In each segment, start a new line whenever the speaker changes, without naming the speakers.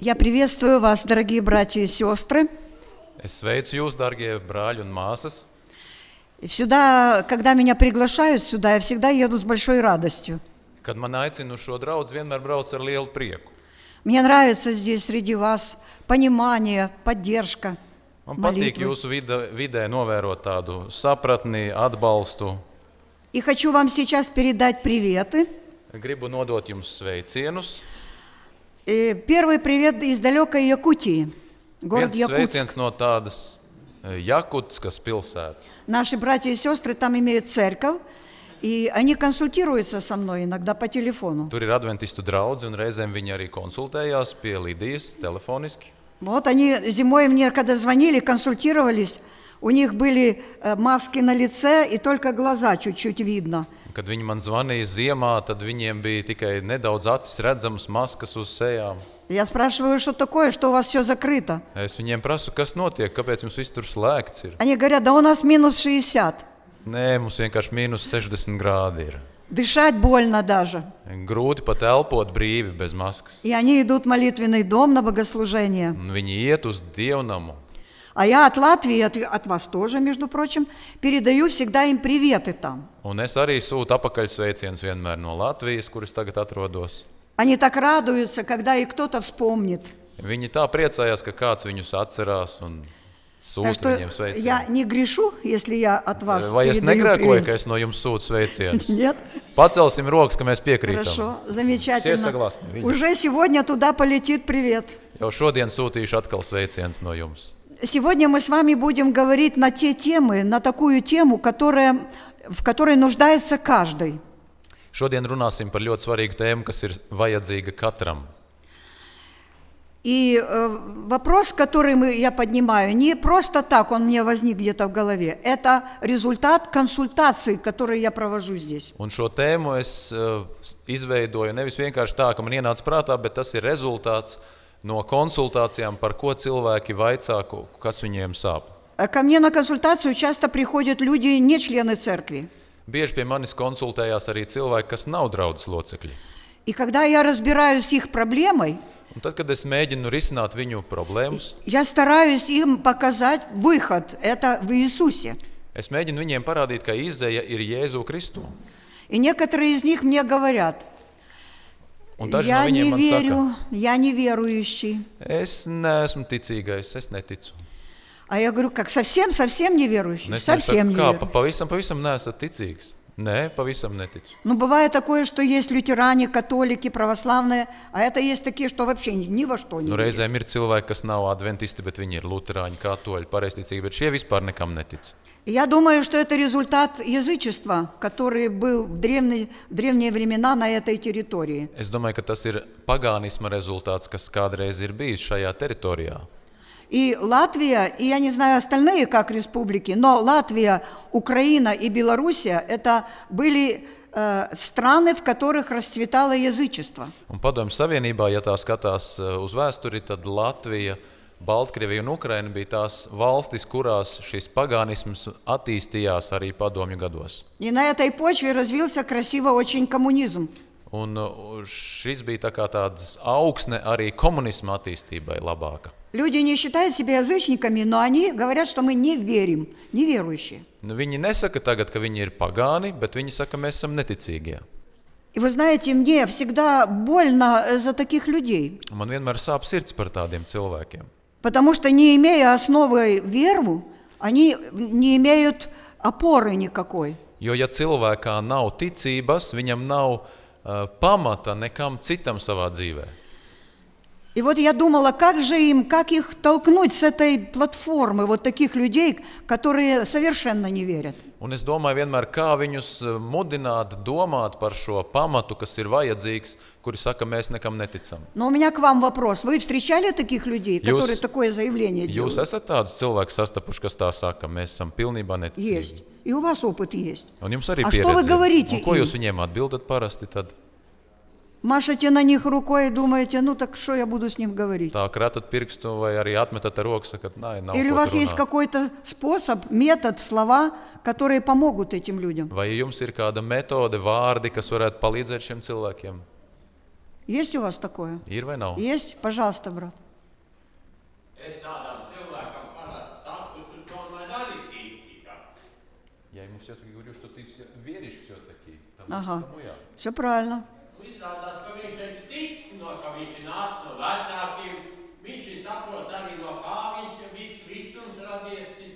Я приветствую вас, дорогие братья и сестры.
Es sveicu jūs, darbie brāļi un māsas.
Сюда, когда меня приглашают сюда, я всегда еду с большой радостью.
Kad man aicina uz šo draugu, vienmēr brauc ar lielu prieku.
Мне нравится здесь среди вас понимание, поддержка.
Man patīk
Malītvu.
jūsu vida, vidē novērot tādu sapratni, atbalstu.
И хочу вам сейчас передать приветы.
Gribu nodot jums sveicienus.
Э, Первый привет из далекой Якутии, город
Viens
Якутск.
sveiciens no tādas eh, Jakutskas pilsētas.
Наши братья и сестры там имеют церковь, и они консультируются со мной иногда по телефону.
Tur ir adventistu draugi, un reizēm viņi arī konsultējās pie Lidijas telefoniski.
Вот они зимой мне, когда звонили, консультировались, у них были э, маски на лице и только глаза чуть-чуть видно.
Un Kad viņi man zvanīja ziemā, tad viņiem bija tikai nedaudz acis redzamas maskas uz sejām.
Я спрашиваю, что такое, что у вас все закрыто.
Es viņiem prasu, kas notiek, kāpēc jums viss tur slēgts ir.
Они говорят, да у нас минус 60,
Nē, mums vienkārši mīnus 60 grādi ir.
дышать больно даже.
Grūti pat elpot brīvi bez maskas.
И они идут в молитвенный дом на богослужение.
Un viņi iet uz dievnamu.
А я от Латвии, от, от вас тоже, между прочим, передаю всегда им приветы там.
Un es arī sūtu apakaļsveicienus vienmēr no Latvijas, kuras tagad atrodos.
Они так радуются, когда их кто-то вспомнит.
Viņi tā priecājās, ka kāds viņus atcerās un
Так
sūta
что
viņiem sveicienus.
я не грешу, если я от вас
Vai es
передаю
negrēkoju, ka
привет.
es no jums sūtu sveicienus?
Нет?
Pacelsim rokas, ka mēs piekrītam.
Хорошо, замечательно.
Все согласны, видите.
Уже сегодня туда полетит привет.
Jau šodien sūtīšu atkal sveicienus no jums.
Сегодня мы с вами будем говорить на те темы, на такую тему, которая, в которой нуждается каждый.
Šodien runāsim par ļoti svarīgu tēmu, kas ir vajadzīga katram.
И э, вопрос, который мы, я поднимаю, не просто так он мне возник где-то в голове. Это результат консультаций, которые я провожу здесь.
Un šo tēmu es uh, izveidoju nevis vienkārši tā, ka man ienāca prātā, bet tas ir rezultāts no konsultācijām, par ko cilvēki vaicā, ko- kas viņiem sāp.
Э, Ко мне на консультацию часто приходят люди, не члены церкви.
Bieži pie manis konsultējās arī cilvēki, kas nav draudzes locekļi.
И когда я разбираюсь с их проблемой,
Un tad, kad es mēģinu risināt viņu problēmas,
Я стараюсь им показать выход, это в Иисусе.
es mēģinu viņiem parādīt, ka izēja ir Jēzu Kristu.
И некоторые из них мне говорят,
Un daži no
я не
viņiem man saka,
верю, я неверующий.
es neesmu ticīgais, es neticu.
А я говорю, как совсем-совсем
Un
неверующий?
es viņiem
совсем
saku,
не
kā
верю.
pa- pavisam, pavisam neesat ticīgs. Nē, pavisam neticu.
Ну, бывает такое, что есть лютеране, католики, православные, а это есть такие, что вообще ни, ни во что не
Nu,
верят.
reizēm ir cilvēki, kas nav adventisti, bet viņi ir luterāņi, katoļi, pareizticīgi, bet šie vispār nekam netic.
Я думаю, что это результат язычества, который был в древние, в древние времена на этой территории.
Es domāju, ka tas ir pagānisma rezultāts, kas kādreiz ir bijis šajā teritorijā.
И Латвия, и я не знаю остальные как республики, но Латвия, Украина и Белоруссия – это были э, страны, в которых расцветало язычество.
Un Padomju Savienībā, ja tā skatās eh, uz vēsturi, tad Latvija, Baltkrievija un Ukraina bija tās valstis, kurās šis pagānisms attīstījās arī padomju gados.
И на этой почве развился красиво очень коммунизм.
Un eh, šis bija tā kā tāds augsne arī komunisma attīstībai labāka.
Люди не считают себя язычниками, но они говорят, что мы не верим, неверующие.
Nu, viņi nesaka tagad, ka viņi ir pagāni, bet viņi saka, ka mēs esam neticīgie.
И вы знаете, мне всегда больно э, за таких людей,
Un Man vienmēr sāp sirds par tādiem cilvēkiem.
потому что не имея основы веру, они не имеют опоры никакой.
Jo, ja cilvēkā nav ticības, viņam nav uh, pamata nekam citam savā dzīvē.
И вот я думала, как же им, как их толкнуть с этой платформы вот таких людей, которые совершенно не верят.
Un es domāju, vienmēr kā viņus eh, mudināt, domāt par šo pamatu, kas ir vajadzīgs, kuri saka, mēs nekam neticam.
Но у меня к вам вопрос. Вы встречали таких людей,
Юс-
которые такое заявление
Jūs
делают?
esat tāds cilvēks, sastapuši, kas tā saka, mēs esam pilnībā
Есть.
neticīgi.
И у вас опыт есть.
Un jums arī
А
pieredze
что вы
ir.
говорите
Un Ko
им?
jūs viņiem atbildat parasti? Tad
Машете на них рукой и думаете, ну так что я буду с ним говорить?
tā kratat pirkstu vai arī atmetat ar roku, sakat, nē, nav.
Или у
ko
вас
tur
есть
runāt."
какой-то способ, метод, слова, которые помогут этим людям?
Vai jums ir kāda metode, vārdi, kas varētu palīdzēt šiem cilvēkiem?
Есть у вас такое?
Ir vai nav?
Есть? Пожалуйста, брат.
Es tādam cilvēkam parasti saku, tu tomēr arī tici. ka
Я ему все-таки говорю, что ты всё- веришь все-таки.
Ага. Все правильно.
Nu, Izrādās, ka viņš ir tic, no ka viņš nāca no vecākiem. Viņš ir saprot arī no kā viņš viss visums radies. ir.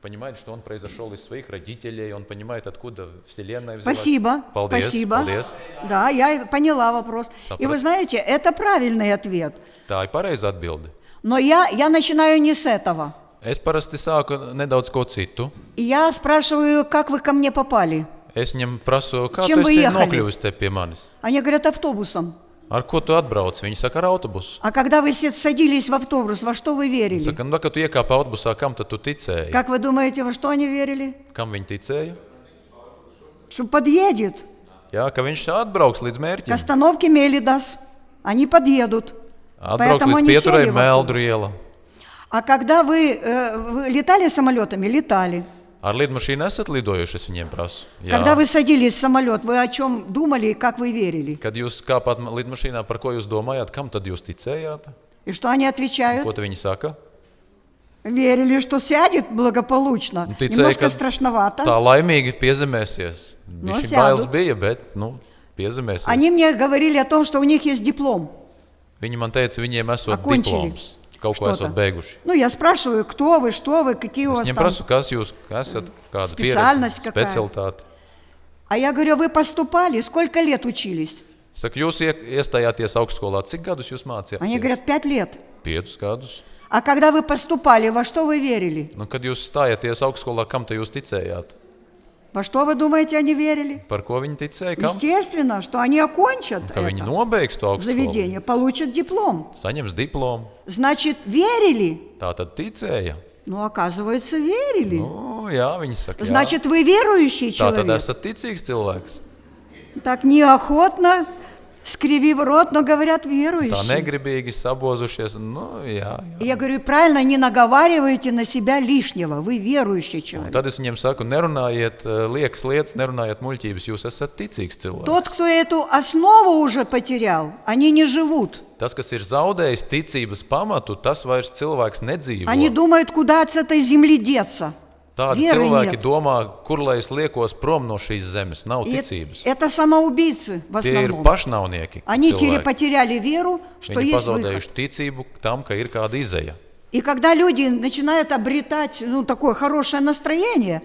Понимает, что он произошел из своих родителей, он понимает, откуда Вселенная взялась.
Спасибо.
Paldies,
Спасибо.
Paldies.
Да, я и поняла вопрос. И вы
Сопро-
знаете, это правильный ответ.
Tā ir pareiza atbilde.
Но я, я начинаю не с этого.
Es parasti sāku nedaudz ko citu.
И я спрашиваю, как вы ко мне попали?
Es viņam prasu, kā
Čim
tu
вы
esi
ехали?
nokļuvis te pie manis.
Они говорят, автобусом.
Ar ko tu atbrauc? Viņi saka, ar autobusu.
А когда вы се- садились в автобус, во что вы верили?
Saka, nu, kad tu iekāpi autobusā, kam tad tu ticēji?
Как вы думаете, во что они верили?
Kam viņi ticēja?
Что подъедет.
Jā, ka viņš atbrauks līdz
К
mērķim.
остановке Мелидас. Они подъедут.
Atbrauks
Поэтому
līdz
они
pieturai
сели в автобус.
Meldru iela.
А когда вы, э, вы летали самолетами? Летали.
Ar lidmašīnu esat lidojuši, es viņiem prasu. Jā.
Когда вы садились в самолет, вы о чем думали и как вы верили?
Kad jūs kāpāt ma- lidmašīnā, par ko jūs domājāt, kam tad jūs ticējāt?
И что они
Ko
отвечают?
tad viņi saka?
Верили, что сядет благополучно.
Nu,
Немножко
ka
страшновато.
tā laimīgi piezemēsies.
No,
Viņš
sēdu.
bailes bija, bet nu, piezemēsies.
Они мне говорили о том, что у них есть диплом.
Viņi man teica, viņiem esot
Akoņķili.
diploms, kaut ko
Что-то.
esot beiguši.
Ну, я спрашиваю, кто вы, что вы, какие у
Es
вас
viņiem
там.
prasu, kas jūs esat,
Speciālnost
kāda pieredze,
kakāja.
specialitāte.
А я говорю, вы поступали, сколько лет учились?
Saku, jūs ie- iestājāties augstskolā, cik gadus jūs
Они
mācījāties?
говорят, пять лет.
Piecus gadus.
А когда вы поступали, во что вы верили?
Nu, kad jūs stājāties augstskolā, kam te jūs ticējāt?
Во что вы думаете, они верили?
Par ko viņi ticēja? Kam?
Естественно, что они окончат
Ka viņi
это
nobeigs to augstskolu,
заведение, получат диплом.
saņems diplomu.
Значит, верили?
Tā tad ticēja.
Ну, оказывается, верили.
Nu, jā, viņi saka, jā.
Значит, вы верующий
tā tad
человек.
esat ticīgs cilvēks.
Так неохотно, скривив рот, но говорят
Tā
верующий.
negribīgi sabozušies. Nu, jā, jā.
Я говорю, правильно, не наговаривайте на себя лишнего. Вы верующий
Un
человек.
Tad es viņiem saku, nerunājiet eh, liekas lietas, nerunājiet muļķības. Jūs esat ticīgs cilvēks.
Тот, кто эту основу уже потерял, они не живут.
Tas, kas ir zaudējis ticības pamatu, tas vairs cilvēks
Они
nedzīvo.
думают, куда от этой земли деться.
Tādi
Веры
cilvēki
нет.
domā, kur lai es liekos prom no šīs zemes. Nav
И
ticības.
это самоубийцы в
Tie ir
основном.
pašnāvnieki.
Они теперь
cilvēki.
потеряли веру, что
Viņi
есть выход.
pazaudējuši ticību tam, ka ir kāda izeja.
И когда люди начинают обретать ну, такое хорошее настроение,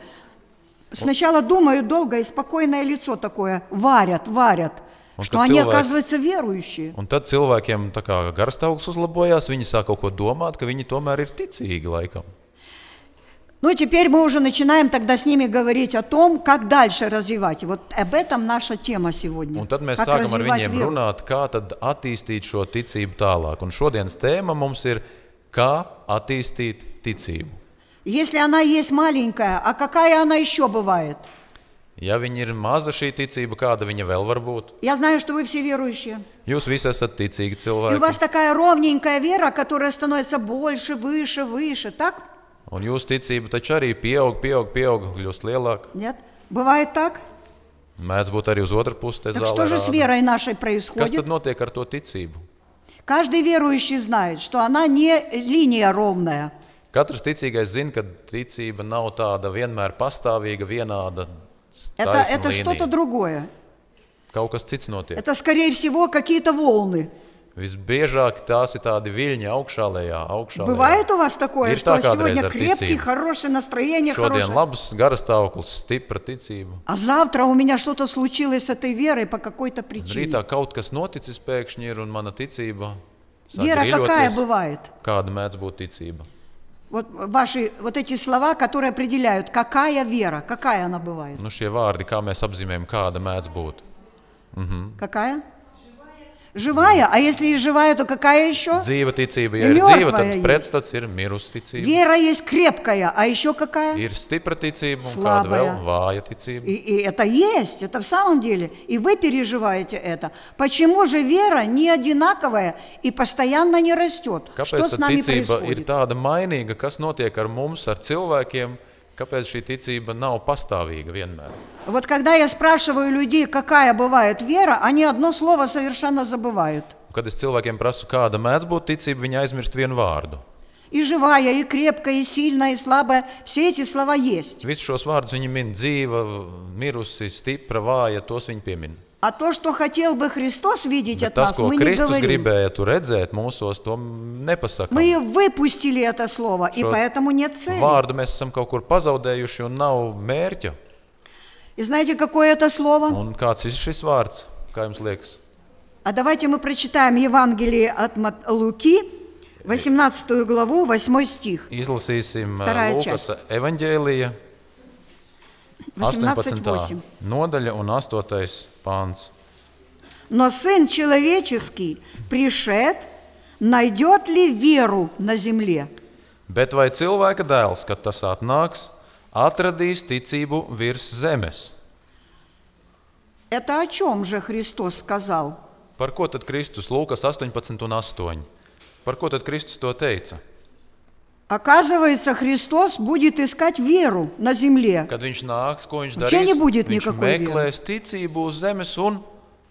сначала думают долго и спокойное лицо такое варят, варят,
Он
что
как
они,
человек.
оказывается, верующие.
Un tad cilvēkiem tā kā garstāvoklis uzlabojās, viņi sāk kaut ko domāt, ka viņi tomēr ir ticīgi laikam.
Ну, теперь мы уже начинаем тогда с ними говорить о том, как дальше развивать. И Вот об этом наша тема сегодня.
Un tad mēs
Как
sākam ar
развивать
viņiem
веру.
runāt, kā tad attīstīt šo ticību tālāk. Un šodienas tēma mums ir, kā attīstīt ticību.
Если она есть маленькая, а какая она еще бывает?
Ja viņa ir maza šī ticība, kāda viņa vēl var būt,
Я знаю, что вы все верующие.
jūs visi esat ticīgi
И у вас
cilvēki.
такая ровненькая вера, которая становится больше, выше, выше, так?
Un jūsu ticība taču arī pieaug, pieaug, pieaug, kļūst lielāka.
Нет? Bывает так?
Mēdz būt arī uz otru pusi. te
Так
zālē
что же с
rāda.
верой нашей
Kas tad
происходит?
notiek ar to ticību?
Каждый верующий знает, что она не линия ровная.
Katrs ticīgais zina, ka ticība nav tāda vienmēr pastāvīga, vienāda.
Это,
taisna
это что-то
līnija.
другое.
Kaut kas cits notiek.
Это, скорее всего, какие-то волны.
Visbiežāk tās ir tādi viļņi augšālējā, augšā.
Бывает у вас такое,
Есть
что
такая
сегодня
адрес
крепкий,
артиции.
хорошее настроение,
Šodien
хорошее.
labs garas stāvoklis, stipra ticība.
А завтра у меня что-то случилось с этой верой по какой-то причине.
Rītā kaut kas noticis pēkšņi ir un mana ticība. sāk
Вера какая
griļoties.
бывает?
Kāda mēdz būt ticība?
Вот ваши вот эти слова, которые определяют, какая вера, какая она бывает.
Nu, šie vārdi, kā mēs apzīmējam, kāda mēdz būt.
Какая? Живая. А если и живая, то какая еще?
Dzīva ticība,
Ja
ja ir dzīva,
ļortvajai
tad
ir.
pretstats ir mirusi ticība.
Вера есть крепкая, а еще какая?
Ir stipra ticība un
Slabajā.
kāda vēl vāja ticība.
И, и это есть, это в самом деле. И вы переживаете это. Почему же вера не одинаковая и постоянно не растет? Что
Kāpēc
с
tā
нами
ticība ir
происходит?
tāda mainīga? Kas notiek ar mums, ar cilvēkiem, Kāpēc šī ticība nav pastāvīga vienmēr?
Вот когда я спрашиваю людей, какая бывает вера, они одно слово совершенно забывают.
Kad es cilvēkiem prasu, kāda mēdz būt ticība, viņi aizmirst vienu vārdu.
И живая, и крепкая, и сильная, и слабая. Все эти слова есть.
Visus šos vārdus viņi min dzīva, mirusi, stipra, vāja, tos viņi piemin.
А то, что хотел бы Христос видеть
Bet
от
tas,
нас,
ko
мы не
Kristus
говорим.
gribēja tur redzēt, mūsos to
Мы
nepasakām.
выпустили это слово, и
Что-
поэтому нет цели.
Vārdu mēs esam kaut kur pazaudējuši un nav mērķa.
И знаете, какое это слово?
Un kāds ir šis vārds? Kā jums liekas?
А давайте мы прочитаем Евангелие от Мат- Луки, 18 главу, 8 стих.
Izlasīsim
Starā ir
Lūkas evanģēlija 18.
18.8.
nodaļa un 8. pāns.
Но Сын Человеческий пришед, найдет ли веру на земле?
Bet vai cilvēka dēls, kad tas atnāks, atradīs ticību virs zemes?
Это о чем же Христос сказал?
Par ko tad Kristus Lūkas 18 un 8? Par ko tad Kristus to teica?
Оказывается, Христос будет искать веру на земле.
Kad viņš nāks, ko viņš
Вообще
darīs?
не будет
viņš
никакой
meklēs ticību uz zemes un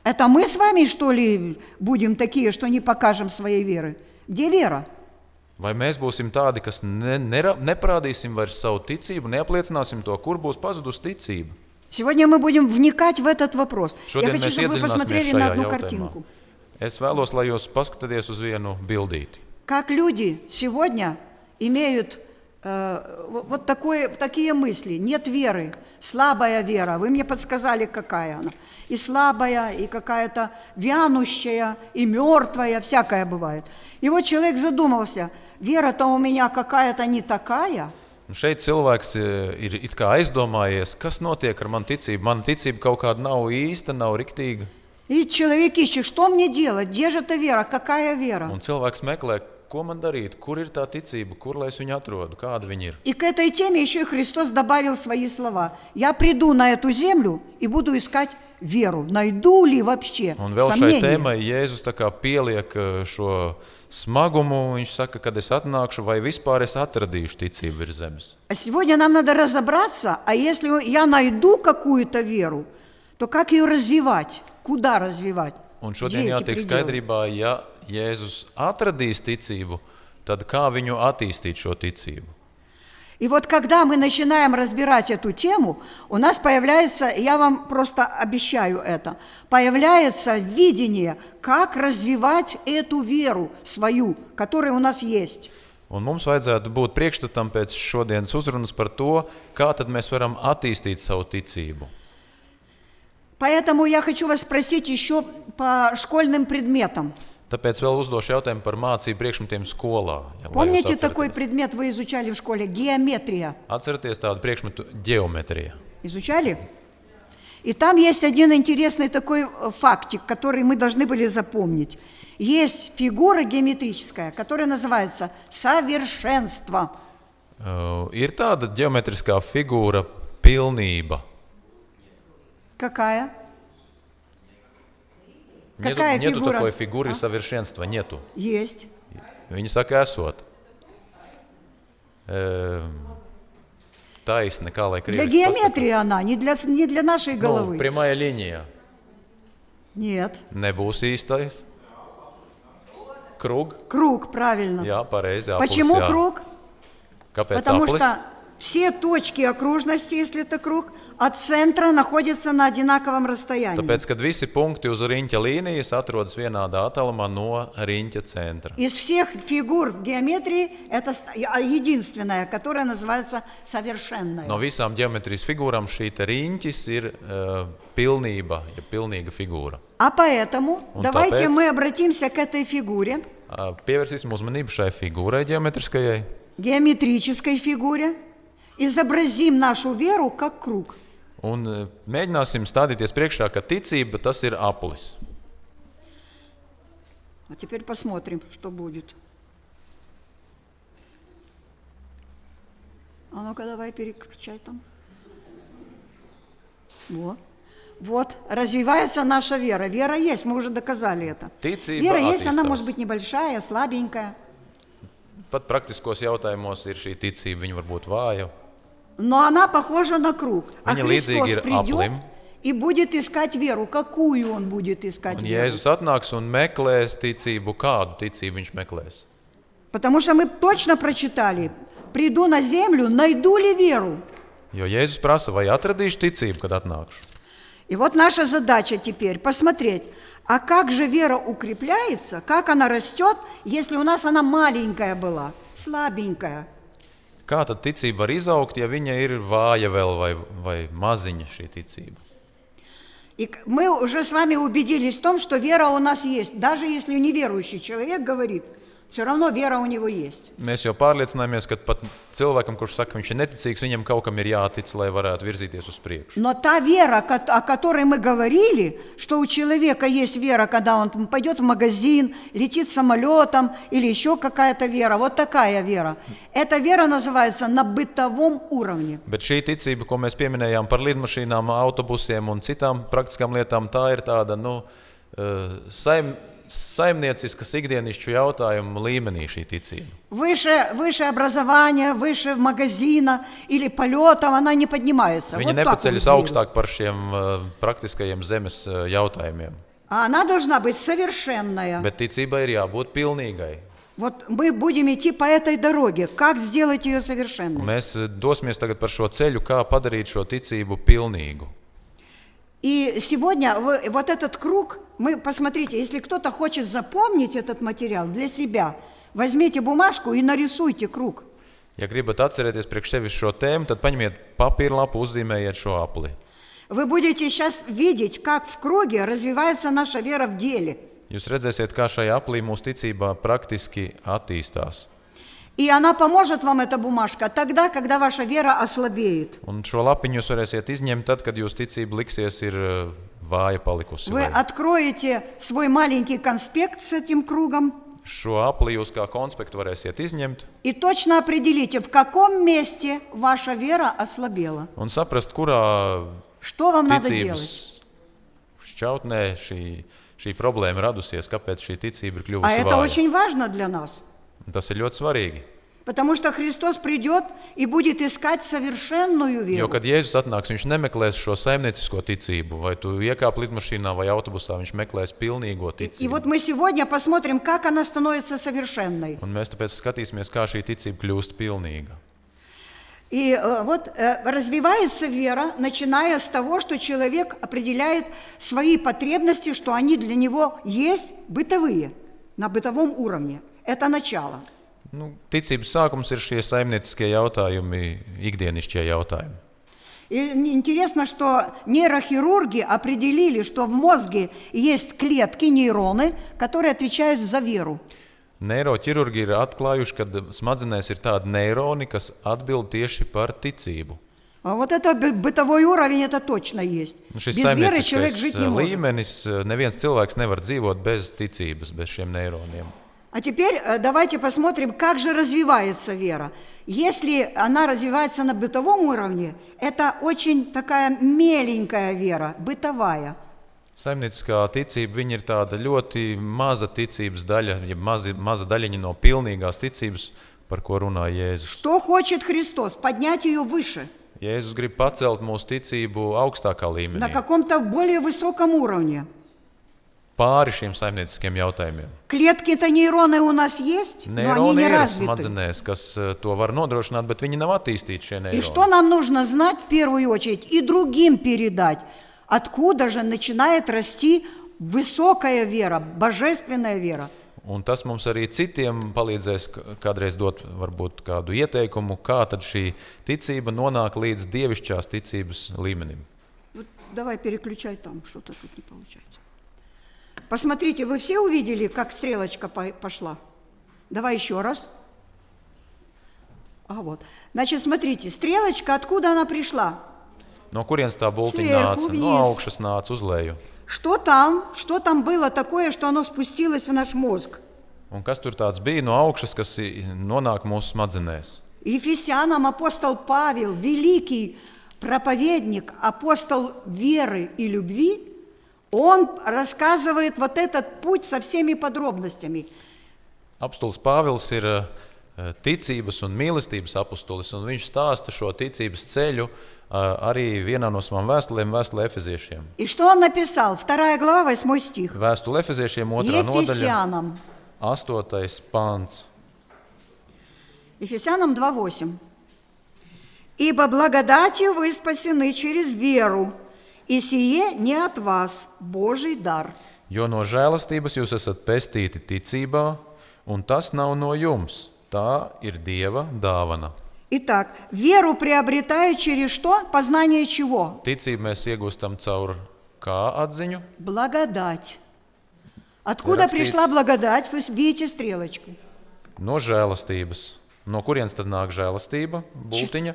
Это мы с вами, что ли, будем такие, что не покажем своей веры? Где вера?
Vai mēs būsim tādi, kas ne, nera, neparādīsim vairs savu ticību, neapliecināsim to, kur būs pazudusi ticība?
Сегодня мы будем вникать в этот вопрос. Я
Šodien
хочу,
mēs
чтобы вы
iedziļināsimies
посмотрели на а
šajā
одну
jautājumā.
картинку.
Es vēlos, lai jūs paskatieties uz vienu bildīti.
Как люди сегодня имеют э, вот вот такое, такие мысли. Нет веры, слабая вера. Вы мне подсказали, какая она. И слабая, и какая-то вянущая, и мертвая, всякая бывает. И вот человек задумался, вера-то у меня какая-то не такая.
Un šeit cilvēks e, ir it kā aizdomājies, kas notiek ar manu ticību. Mana ticība kaut kāda nav īsta, nav riktīga.
И человек ищет, что мне делать, где же эта вера, какая вера.
Un cilvēks meklē, ko man darīt, kur ir tā ticība, kur lai es viņu atrodu, kāda viņa ir.
И к этой теме еще и Христос добавил свои слова. Я приду на эту землю и буду искать веру. Найду ли вообще
Un vēl šai
сомнения?
tēmai Jēzus tā kā pieliek e, šo smagumu. Viņš saka, kad es atnākšu, vai vispār es atradīšu ticību virs zemes.
А сегодня нам надо разобраться, а если я найду какую-то веру, то как ее развивать? Куда развивать?
Un
Где
šodien
эти
jātiek
пределы?
skaidrībā, ja Jēzus atradīs ticību, tad kā viņu attīstīt šo ticību?
И вот когда мы начинаем разбирать эту тему, у нас появляется, я вам просто обещаю это, появляется видение, как развивать эту веру свою, которая у нас есть.
Un mums vajadzētu būt priekšstatam pēc šodienas uzrunas par to, kā tad mēs varam attīstīt savu ticību.
Поэтому я хочу вас спросить еще по школьным предметам.
Tāpēc vēl uzdošu jautājumu par mācību priekšmetiem skolā. Ja, lai jūs
Помните, такой
atceraties.
предмет вы изучали в школе? Геометрия.
Atcerieties tādu priekšmetu geometrija.
Изучали? И там есть один интересный такой э, фактик, который мы должны были запомнить. Есть фигура геометрическая, которая называется совершенство.
Uh, ir tāda geometriskā figūra, pilnība.
Какая?
Нету,
Какая
нету
фигура?
такой фигуры совершенства, нету.
Есть.
Viņi saka, esot. Ehm, Taisni, kā lai
Для
krievis
геометрии она, не для, не для нашей
pasaka.
головы.
Nu, Pirmajā līnijā
Нет.
nebūs īstais. Krug,
Круг, правильно.
jā, pareizi. aplis,
Почему
jā.
круг?
Kāpēc
Потому
aplis?
что все точки окружности, если это круг, от центра находятся на одинаковом расстоянии.
Tāpēc, kad visi punkti uz riņķa līnijas atrodas vienādā attālumā no riņķa centra.
Из всех фигур в геометрии это ст- я- а, единственная, которая называется совершенная.
No visām geometrijas figūrām šī te riņķis ir uh, pilnība, ja pilnīga figūra.
А поэтому
Он
давайте
топец.
мы обратимся к этой фигуре,
Uh, pievērsīsim uzmanību šai figūrai geometriskajai.
геометрической фигуре, изобразим нашу веру как круг.
Un e, mēģināsim stādīties priekšā, ka ticība tas ir aplis.
А теперь посмотрим, что будет. А ну-ка, давай переключай там. Вот. Вот, развивается наша вера. Вера есть, мы уже доказали это.
Птицы и
вера
богатые
есть, она может
осталось.
быть небольшая, слабенькая.
Pat praktiskos jautājumos ir šī ticība, viņa var būt vāja.
но она похожа на круг. А
Viņa līdzīga ir
Христос придет
aplim.
и будет искать веру. Какую он будет искать
Un
веру?
Jēzus atnāks un meklēs ticību, kādu ticību viņš meklēs.
Потому что мы точно прочитали, приду на землю, найду ли веру?
Jo Jēzus prasa, vai atradīšu ticību, kad atnākšu.
И вот наша задача теперь посмотреть, а как же вера укрепляется, как она растет, если у нас она маленькая была, слабенькая.
Kā tad ticība var izaugt, ja viņa ir vāja vēl vai, vai maziņa šī ticība?
И к- мы уже с вами убедились в том, что вера у нас есть. Даже если неверующий человек говорит, все равно вера у него есть.
Mēs jau pārliecinājāmies, ka pat cilvēkam, kurš saka, viņš ir neticīgs, viņam kaut kam ir jātic, lai varētu virzīties uz priekšu.
Но та вера, ко- о которой мы говорили, что у человека есть вера, когда он пойдет в магазин, летит самолетом или еще какая-то вера, вот такая вера. Эта вера называется на бытовом уровне.
Bet šī ticība, ko mēs pieminējām par lidmašīnām, autobusiem un citām praktiskām lietām, tā ir tāda nu, eh, saim, saimnieciskas ikdienišķu jautājumu līmenī šī ticība.
Выше, выше образования, выше магазина или полетов она не поднимается.
Viņa
Вот так вот
nepaceļas
вера.
augstāk par šiem eh, praktiskajiem zemes eh, jautājumiem.
А она должна быть совершенная.
Bet ticībai ir jābūt pilnīgai.
Вот мы будем идти по этой дороге. Как сделать ее
Un
совершенной?
Mēs eh, dosimies tagad par šo ceļu, kā padarīt šo ticību pilnīgu.
И сегодня вы- вот этот круг, мы посмотрите, если кто-то хочет запомнить этот материал для себя, возьмите бумажку и нарисуйте круг.
Ja gribat atcerēties priekš sevis šo tēmu, tad paņemiet papīra lapu, uzzīmējiet šo apli.
Вы будете сейчас видеть, как в круге развивается наша вера в деле.
Jūs redzēsiet, kā šajā aplī mūsu ticībā praktiski attīstās.
И она поможет вам, эта бумажка, тогда, когда ваша вера ослабеет.
Un šo lapiņu jūs varēsiet izņemt tad, kad jūsu ticība liksies ir eh, vāja palikusi.
Вы
vai-
откроете свой маленький конспект с этим кругом
Šo aplī jūs kā konspektu varēsiet izņemt
и точно определите, в каком месте ваша вера ослабела.
un saprast, kurā
Что вам надо
ticības
делать?
šķautnē šī, šī problēma radusies, kāpēc šī ticība ir
А
kļuvusi
это
vāja.
очень важно для нас,
Un Tas ir ļoti svarīgi.
потому что Христос придет и будет искать совершенную
Jo,
веру.
kad Jēzus atnāks, viņš nemeklēs šo saimniecisko ticību, vai tu iekāp lidmašīnā vai autobusā, viņš meklēs pilnīgo
И вот
ticību.
мы сегодня посмотрим, как она становится совершенной.
Un mēs tāpēc skatīsimies, kā šī ticība kļūst pilnīga.
И э, вот э, развивается вера, начиная с того, что человек определяет свои потребности, что они для него есть бытовые, на бытовом уровне. Это начало.
Nu, ticības sākums ir šie saimnieciskie jautājumi, ikdienišķie jautājumi.
И интересно, что нейрохирурги определили, что в мозге есть клетки, нейроны, которые отвечают за веру.
Neiroķirurgi ir atklājuši, ka smadzenēs ir tādi neironi, kas atbild tieši par ticību.
А вот это бы- бытовой уровень, это точно есть.
Nu,
Без
Šis
веры человек
saimnieciskais
жить
eh,
не может.
līmenis, eh, neviens cilvēks nevar dzīvot bez ticības, bez šiem neironiem.
А теперь э, давайте посмотрим, как же развивается вера. Если она развивается на бытовом уровне, это очень такая меленькая вера, бытовая.
Saimnieciskā ticība viņa ir tāda ļoti maza ticības daļa, ja mazi, maza daļiņa no pilnīgās ticības, par ko runā Jēzus.
Что хочет Христос? Поднять ее выше,
Jēzus grib pacelt mūsu ticību augstākā
на
līmenī,
каком-то более высоком уровне.
pāri šiem saimnieciskiem jautājumiem.
Клетки-то нейроны у нас есть, но они
Neironi
не
ir
развиты.
smadzenēs, kas eh, to var nodrošināt, bet viņi nav attīstīti šie
И что
neironi.
нам нужно знать в первую очередь и другим передать? Откуда же начинает расти высокая вера, божественная вера?
Un tas mums arī citiem palīdzēs k- kādreiz dot varbūt, kādu ieteikumu, kā tad šī ticība nonāk līdz dievišķās ticības līmenim.
Вот давай переключай там, что-то тут не получается. Посмотрите, вы все увидели, как стрелочка по- пошла? Давай еще раз. А вот. Значит, смотрите, стрелочка, откуда она пришла?
No kurienes tā būtība
Svēru
nāca? No
vīz.
augšas nāca uz leju.
Что там? Что там было такое, что оно спустилось в наш мозг?
Un kas tur tāds bija no augšas, kas i- nonāk mūsu smadzenēs?
Ефесянам апостол Павел, великий проповедник, апостол веры и любви, он рассказывает вот этот путь со всеми подробностями.
Apstults Pāvils ir eh, eh, ticības un mīlestības apustulis, un viņš stāsta šo ticības ceļu eh, arī vienā no savām vēstulēm, vēstulē Efeziešiem.
И что он написал? Вторая глава, восьмой стих.
Vēstule Efeziešiem 2. nodaļa,
Ефесянам.
8. pāns.
Ефесянам 2.8. «Ибо благодатью вы спасены через веру, и сие не от вас, Божий дар».
Jo no žēlastības jūs esat pestīti ticībā, un tas nav no jums. Tā ir Dieva dāvana.
Итак, веру приобретает через что? Познание чего?
Ticību mēs iegūstam caur kā atziņu,
Благодать. Откуда
Раскрыть.
пришла благодать? Вы видите стрелочку.
no žēlastības. No kurienes tad nāk žēlastība? Būtiņa.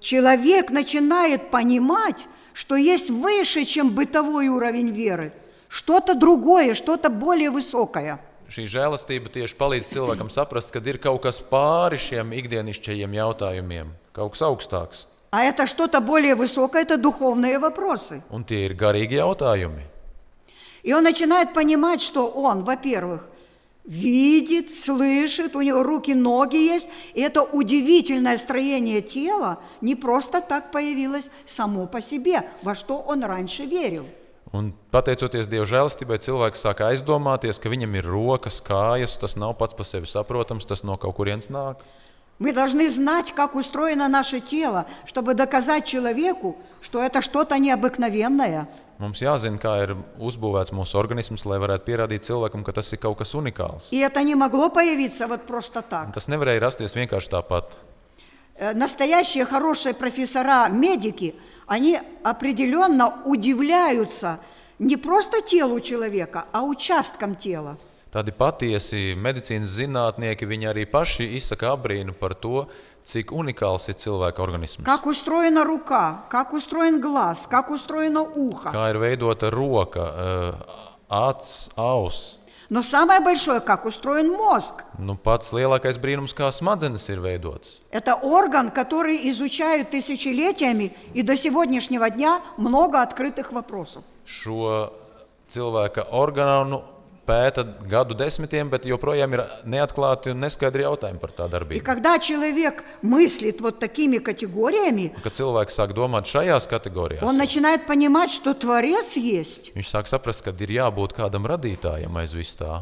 Человек начинает понимать, что есть выше, чем бытовой уровень веры. Что-то другое, что-то более высокое.
Šī žēlastība tieši palīdz cilvēkam saprast, ka ir kaut kas pāri šiem ikdienišķajiem jautājumiem, kaut kas augstāks.
А это что-то более высокое – это духовные вопросы.
Un tie ir garīgi jautājumi.
И он начинает понимать, что он, во-первых, видит, слышит, у него руки, ноги есть. И это удивительное строение тела не просто так появилось само по себе, во что он раньше верил.
Un pateicoties Dieva žēlastībai, cilvēks sāk aizdomāties, ka viņam ir rokas, kājas, tas nav pats par sevi saprotams, tas no kaut kurienes nāk.
Мы должны знать, как устроено наше тело, чтобы доказать человеку, что это что-то необыкновенное.
Mums jāzina, kā ir uzbūvēts mūsu organisms, lai varētu pierādīt cilvēkam, ka tas ir kaut kas unikāls.
И это не могло появиться вот просто
Un
так.
tas nevarēja rasties vienkārši tāpat.
Э, Настоящие хорошие профессора, медики, они определенно удивляются не просто телу человека, а участкам тела.
Tādi patiesi medicīnas zinātnieki, viņi arī paši izsaka abrīnu par to, cik unikāls ir cilvēka organisms.
Как устроена рука, как устроен глаз, как устроено ухо.
Kā ir veidota roka, eh, acs, auss.
Но самое большое, как ustроен мозг.
Nu, pats lielākais brīnums, kā smadzenes ir veidotas.
Это орган, который изучают тысячелетиями, и до сегодняшнего дня много открытых вопросов.
šo cilvēka orgānu pēta gadu desmitiem, bet joprojām ir neatklāti un neskaidri jautājumi par tā
И
darbību.
когда человек мыслит вот такими категориями,
Kad cilvēks sāk domāt šajās
он
kategorijās,
начинает понимать, что Творец есть.
viņš sāk saprast, ka ir jābūt kādam radītājam aiz vis tā.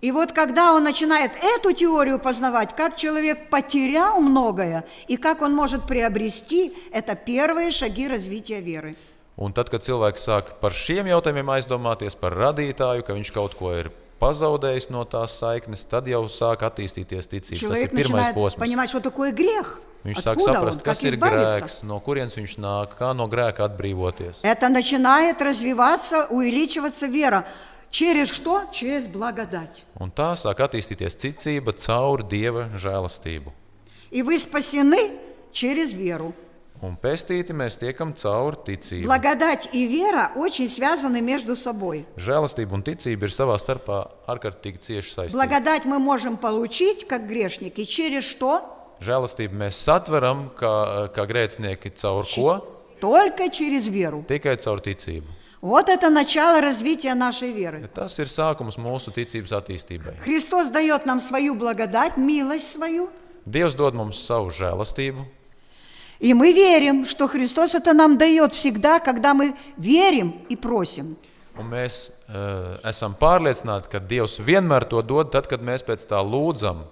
И вот когда он начинает эту теорию познавать, как человек потерял многое и как он может приобрести, это первые шаги развития веры.
Un tad, kad cilvēks sāk par šiem jautājumiem aizdomāties par radītāju, ka viņš kaut ko ir pazaudējis no tās saiknes, tad jau sāk attīstīties ticība. Tas
Человек
ir pirmais
начинает
posms.
понимать, что такое грех,
Viņš sāk
откуда он,
saprast,
как
kas ir
избавиться.
grēks, no kurienes viņš nāk, kā no grēka atbrīvoties.
Это начинает развиваться, увеличиваться вера. Через что? Через благодать.
Un tā sāk attīstīties ticība caur dieva žēlastību.
И вы спасены через веру.
Un pestīti mēs tiekam caur ticību.
Благодать и вера очень связаны между собой.
Žēlastība un ticība ir savā starpā ārkārtīgi cieši saistītas.
Благодать мы можем получить как грешники через что?
Žēlastību mēs satveram kā, kā grēcinieki caur ko?
Только через веру.
Tikai caur ticību.
Вот это начало развития нашей
Ja
веры.
tas ir sākums mūsu ticības attīstībai.
Христос дает нам свою благодать, милость свою,
Dievs dod mums savu žēlastību,
и мы верим, что Христос это нам дает всегда, когда мы верим и просим.
un mēs uh, esam pārliecināti, ka Dievs vienmēr to dod, tad, kad mēs pēc tā lūdzam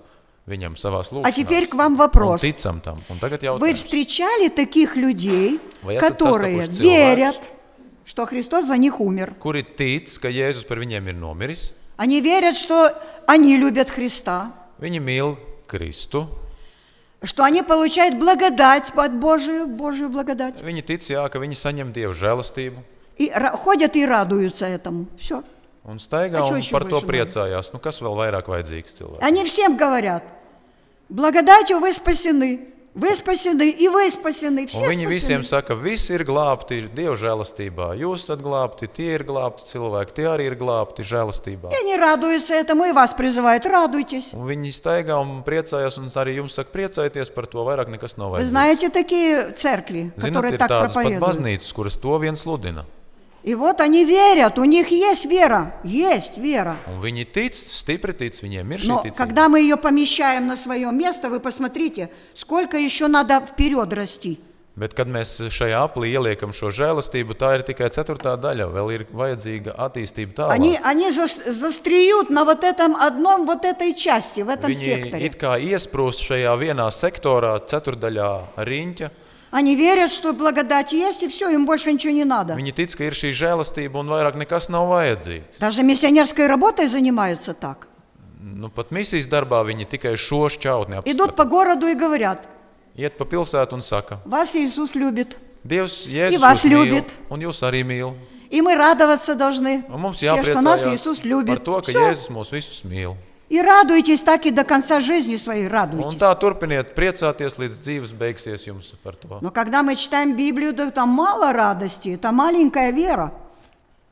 viņam savā lūgšanā.
А теперь к вам вопрос.
Ticam tam. Un tagad jau
Вы встречали таких людей,
Вы я
которые
состав пустила, да?
верят, что Христос за них умер.
kuri tic, ka Jēzus par viņiem ir nomiris,
Они верят, что они любят Христа,
viņi mīl Kristu.
что они получают благодать от Божию, Божию благодать.
Viņi tic, jā, ka viņi saņem Dieva žēlastību
И ра- ходят и радуются этому. Все.
un staigā
A čo
un
ešte
par to
bolšie mali?
priecājās. Nu, kas vēl vairāk vajadzīgs cilvēkam?
Они всем говорят, благодатью вы спасены, вы спасены, и вы спасены,
Un
все
viņi visiem
спасены.
saka, visi ir glābti Dieva žēlastībā. Jūs esat glābti, tie ir glābti cilvēki, tie arī ir glābti žēlastībā.
И они радуются этому, и вас призывают, радуйтесь.
Un viņi staigā un priecājās, un arī jums saka, priecājieties par to, vairāk nekas nav
Вы
vajadzīgs.
знаете такие церкви,
Zināt,
которые
ir
так
tādas pat
проповедуют?
baznīcas, kuras to viens sludina.
И вот они верят, у них есть вера, есть вера.
Un viņi tic, stipri tic, viņiem ir šī
Но
ticība.
когда мы ее помещаем на свое место, вы посмотрите, сколько еще надо вперед расти.
Bet, kad mēs šajā aplī ieliekam šo žēlastību, tā ir tikai ceturtā daļa. Vēl ir vajadzīga attīstība
Они,
tālāk.
они зас- застреют на вот этом одном, вот этой части, в этом
Viņi
секторе.
it kā iesprūst šajā vienā sektorā, ceturdaļā riņķa.
Они верят, что благодать есть, и все, им больше ничего не надо.
Viņi tic, ka ir šī žēlastība un vairāk nekas nav vajadzīgs.
Даже миссионерской работой zaнимаются так.
Nu, pat misijas darbā viņi tikai šo šķautni
Идут по
apskata.
городу и говорят,
Iet pa pilsētu un saka,
вас Иисус любит,
Dievs, Jēzus,
vas
jūs mīl,
ļubit.
un jūs arī mīl.
и мы радоваться должны,
Un mums
все, что нас Иисус
jāpriecājas par
любит.
to, ka
Всё.
Jēzus mūs visus mīl.
И радуйтесь так и до конца жизни своей,
Un
радуйтесь.
tā turpiniet priecāties, līdz dzīves beigsies jums par to.
Но когда мы читаем Библию, да там мало радости, это маленькая вера.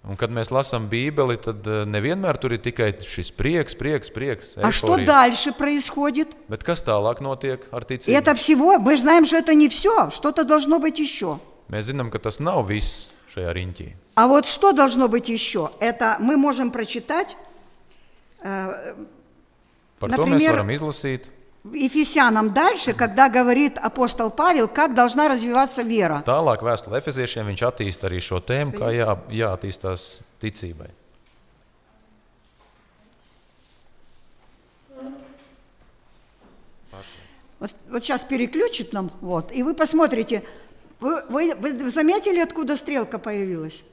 Un, kad mēs lasām Bībeli, tad eh, nevienmēr tur ir tikai šis prieks, prieks, prieks.
А что
eiforija.
дальше происходит?
Bet kas tālāk notiek ar
И это
ticību?
всего, мы знаем, что это не все, что-то должно быть еще.
Mēs zinām, ka tas nav viss šajā riņķī.
А вот что должно быть еще? Это мы можем прочитать э,
Par to mēs
Например,
varam izlasīt.
в Ефесянам дальше, когда говорит апостол Павел, как должна развиваться вера.
Tālāk vēstulē Efeziešiem viņš attīstīja arī šo tēmu, kā jā, jāattīstās ticībai.
Вот, сейчас переключит нам, вот, и вы посмотрите. Вы, вы- вы заметили, откуда стрелка появилась?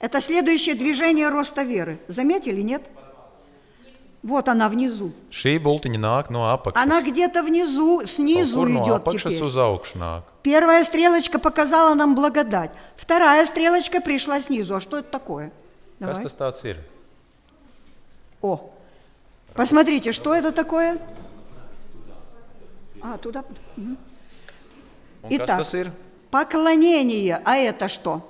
Это следующее движение роста веры. Заметили, нет? Вот она внизу.
Šī bultiņa nāk no
Она
apakšas.
где-то внизу,
Kaut
снизу
kur no
идет
apakšas
теперь.
uz augšu nāk.
Первая стрелочка показала нам благодать. Вторая стрелочка пришла снизу. А что это такое?
Kas
Давай.
tas tāds ir?
О, посмотрите, что это такое? А, туда. Мгм.
Un kas
Itā.
tas ir?
Поклонение. А это что?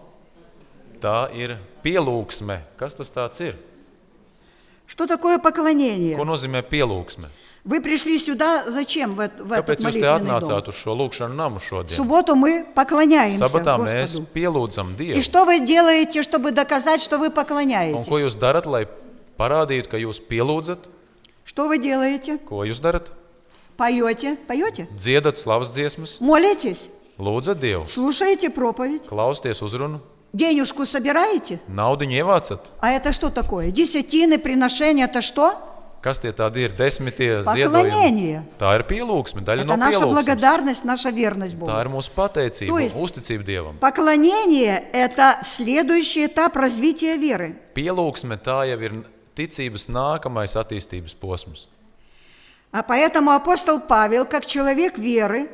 Tā ir pielūgsme. Kas tas tāds ir?
Что такое
Ko
поклонение?
nozīmē pielūgsme?
Вы пришли сюда зачем в, эт- в этот
Kāpēc jūs te
молитвенный дом?
atnācāt uz šo lūkšanu namu
В
šodien?
субботу мы поклоняемся
Sabatā mēs
Господу.
pielūdzam
И
Dievu.
что вы делаете, чтобы доказать, что вы
Un ko
поклоняетесь?
jūs darat, lai parādītu, ka jūs pielūdzat?
Что вы делаете?
Ko jūs darat?
Поете? Поете?
Dziedat slavas dziesmas,
Молитесь?
lūdzat Dievu,
Слушаете проповедь?
klausieties uzrunu,
Денежку собираете?
naudu ievācat.
А это что такое? Десятины, приношения, это что?
Kas tie tādi ir? Desmitie
Поклонение.
ziedojumi. Tā ir pielūgsme, daļa
Это
no
наша
pielūgsmes.
благодарность, наша верность Богу.
Tā ir mūsu pateicība,
Tu esi-
uzticība Dievam.
Поклонение – это следующий этап развития веры.
Pielūgsme tā jau ir ticības nākamais attīstības posms.
А поэтому апостол Павел, как человек веры,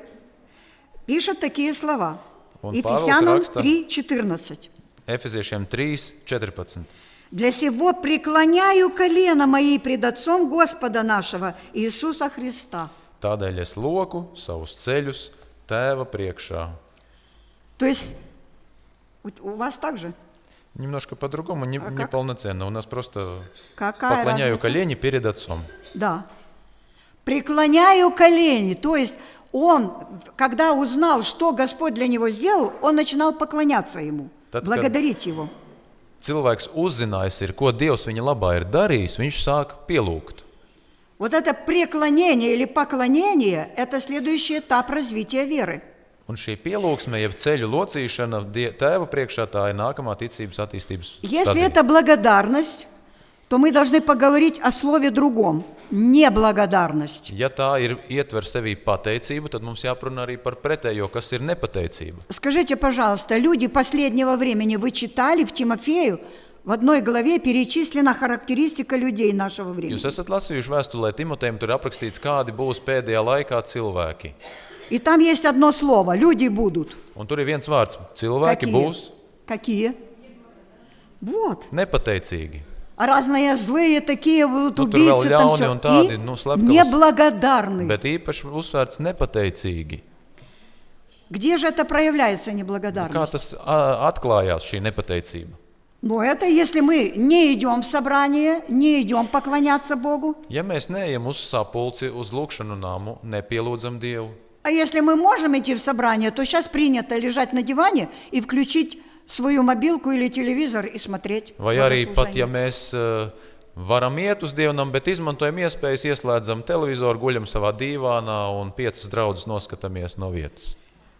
пишет такие слова.
Он
Ефесянам
Павел,
3:14.
Efeziešiem 3, 14.
«Для сего преклоняю колено мои пред Отцом Господа нашего Иисуса Христа».
Tādēļ es loku savus ceļus tēva priekšā.
То есть у- у вас так же?
Немножко по-другому, не, не
как?
полноценно. У нас просто
Какая
поклоняю
разница?
колени перед отцом.
Да. Преклоняю колени. То есть он, когда узнал, что Господь для него сделал, он начинал поклоняться ему,
Tad, kad-
благодарить его.
Cilvēks uzzinājis, ir, ko Dievs viņa labā ir darījis, viņš sāk pielūgt.
Вот это преклонение или поклонение – это следующий этап развития веры.
Un šī pielūgsme, jeb ceļu locīšana die, tēva priekšā, tā ir nākamā ticības attīstības
Если
stadija.
это благодарность, то мы должны поговорить о слове другом – неблагодарность.
Ja tā ir ietver sevī pateicību, tad mums jāprunā arī par pretējo, kas ir nepateicība.
Скажите, пожалуйста, люди последнего времени, вы читали в Тимофею, в одной главе перечислена характеристика людей нашего времени.
Jūs esat lasījuši vēstulē Timotejam, tur aprakstīts, kādi būs pēdējā laikā cilvēki.
И там есть одно слово – люди будут.
Un tur ir viens vārds - cilvēki būs
Какие? Вот.
nepateicīgi.
А Разные злые такие будут
Ну,
убийцы,
Турвел
там
Ляуни,
всё.
он тады,
И
ну, слабко вас-
неблагодарны.
Bet īpaši uzsvērts nepateicīgi.
Где же это проявляется
Kā
неблагодарность?
tas ā, atklājās šī nepateicība?
Но это если мы не идем в собрание, не идем поклоняться Богу,
Ja mēs neejam uz sapulci, uz lūkšanu nāmu, nepielūdzam Dievu,
а если мы можем идти в собрание, то сейчас принято лежать на диване и включить свою мобилку или телевизор и смотреть.
Vai arī
богослужение.
pat, ja mēs eh, varam iet uz dievnam, bet izmantojam iespējas, ieslēdzam televizoru, guļam savā dīvānā un piecas draudzes noskatāmies no vietas.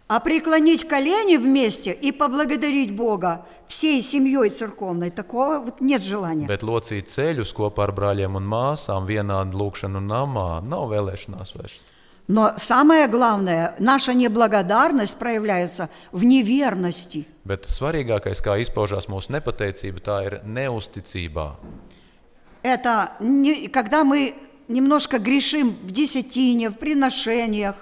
А преклонить колени вместе и поблагодарить Бога всей семьей церковной, такого вот нет желания.
Bet locīt ceļus kopā ar brāļiem un māsām vienādi lūkšanu namā nav vēlēšanās vairs.
Но самое главное, наша неблагодарность проявляется в неверности.
Bet svarīgākais, kā izpaužās mūsu nepateicība, tā ir neusticībā.
Это не- когда мы немножко грешим в десятине, в приношениях.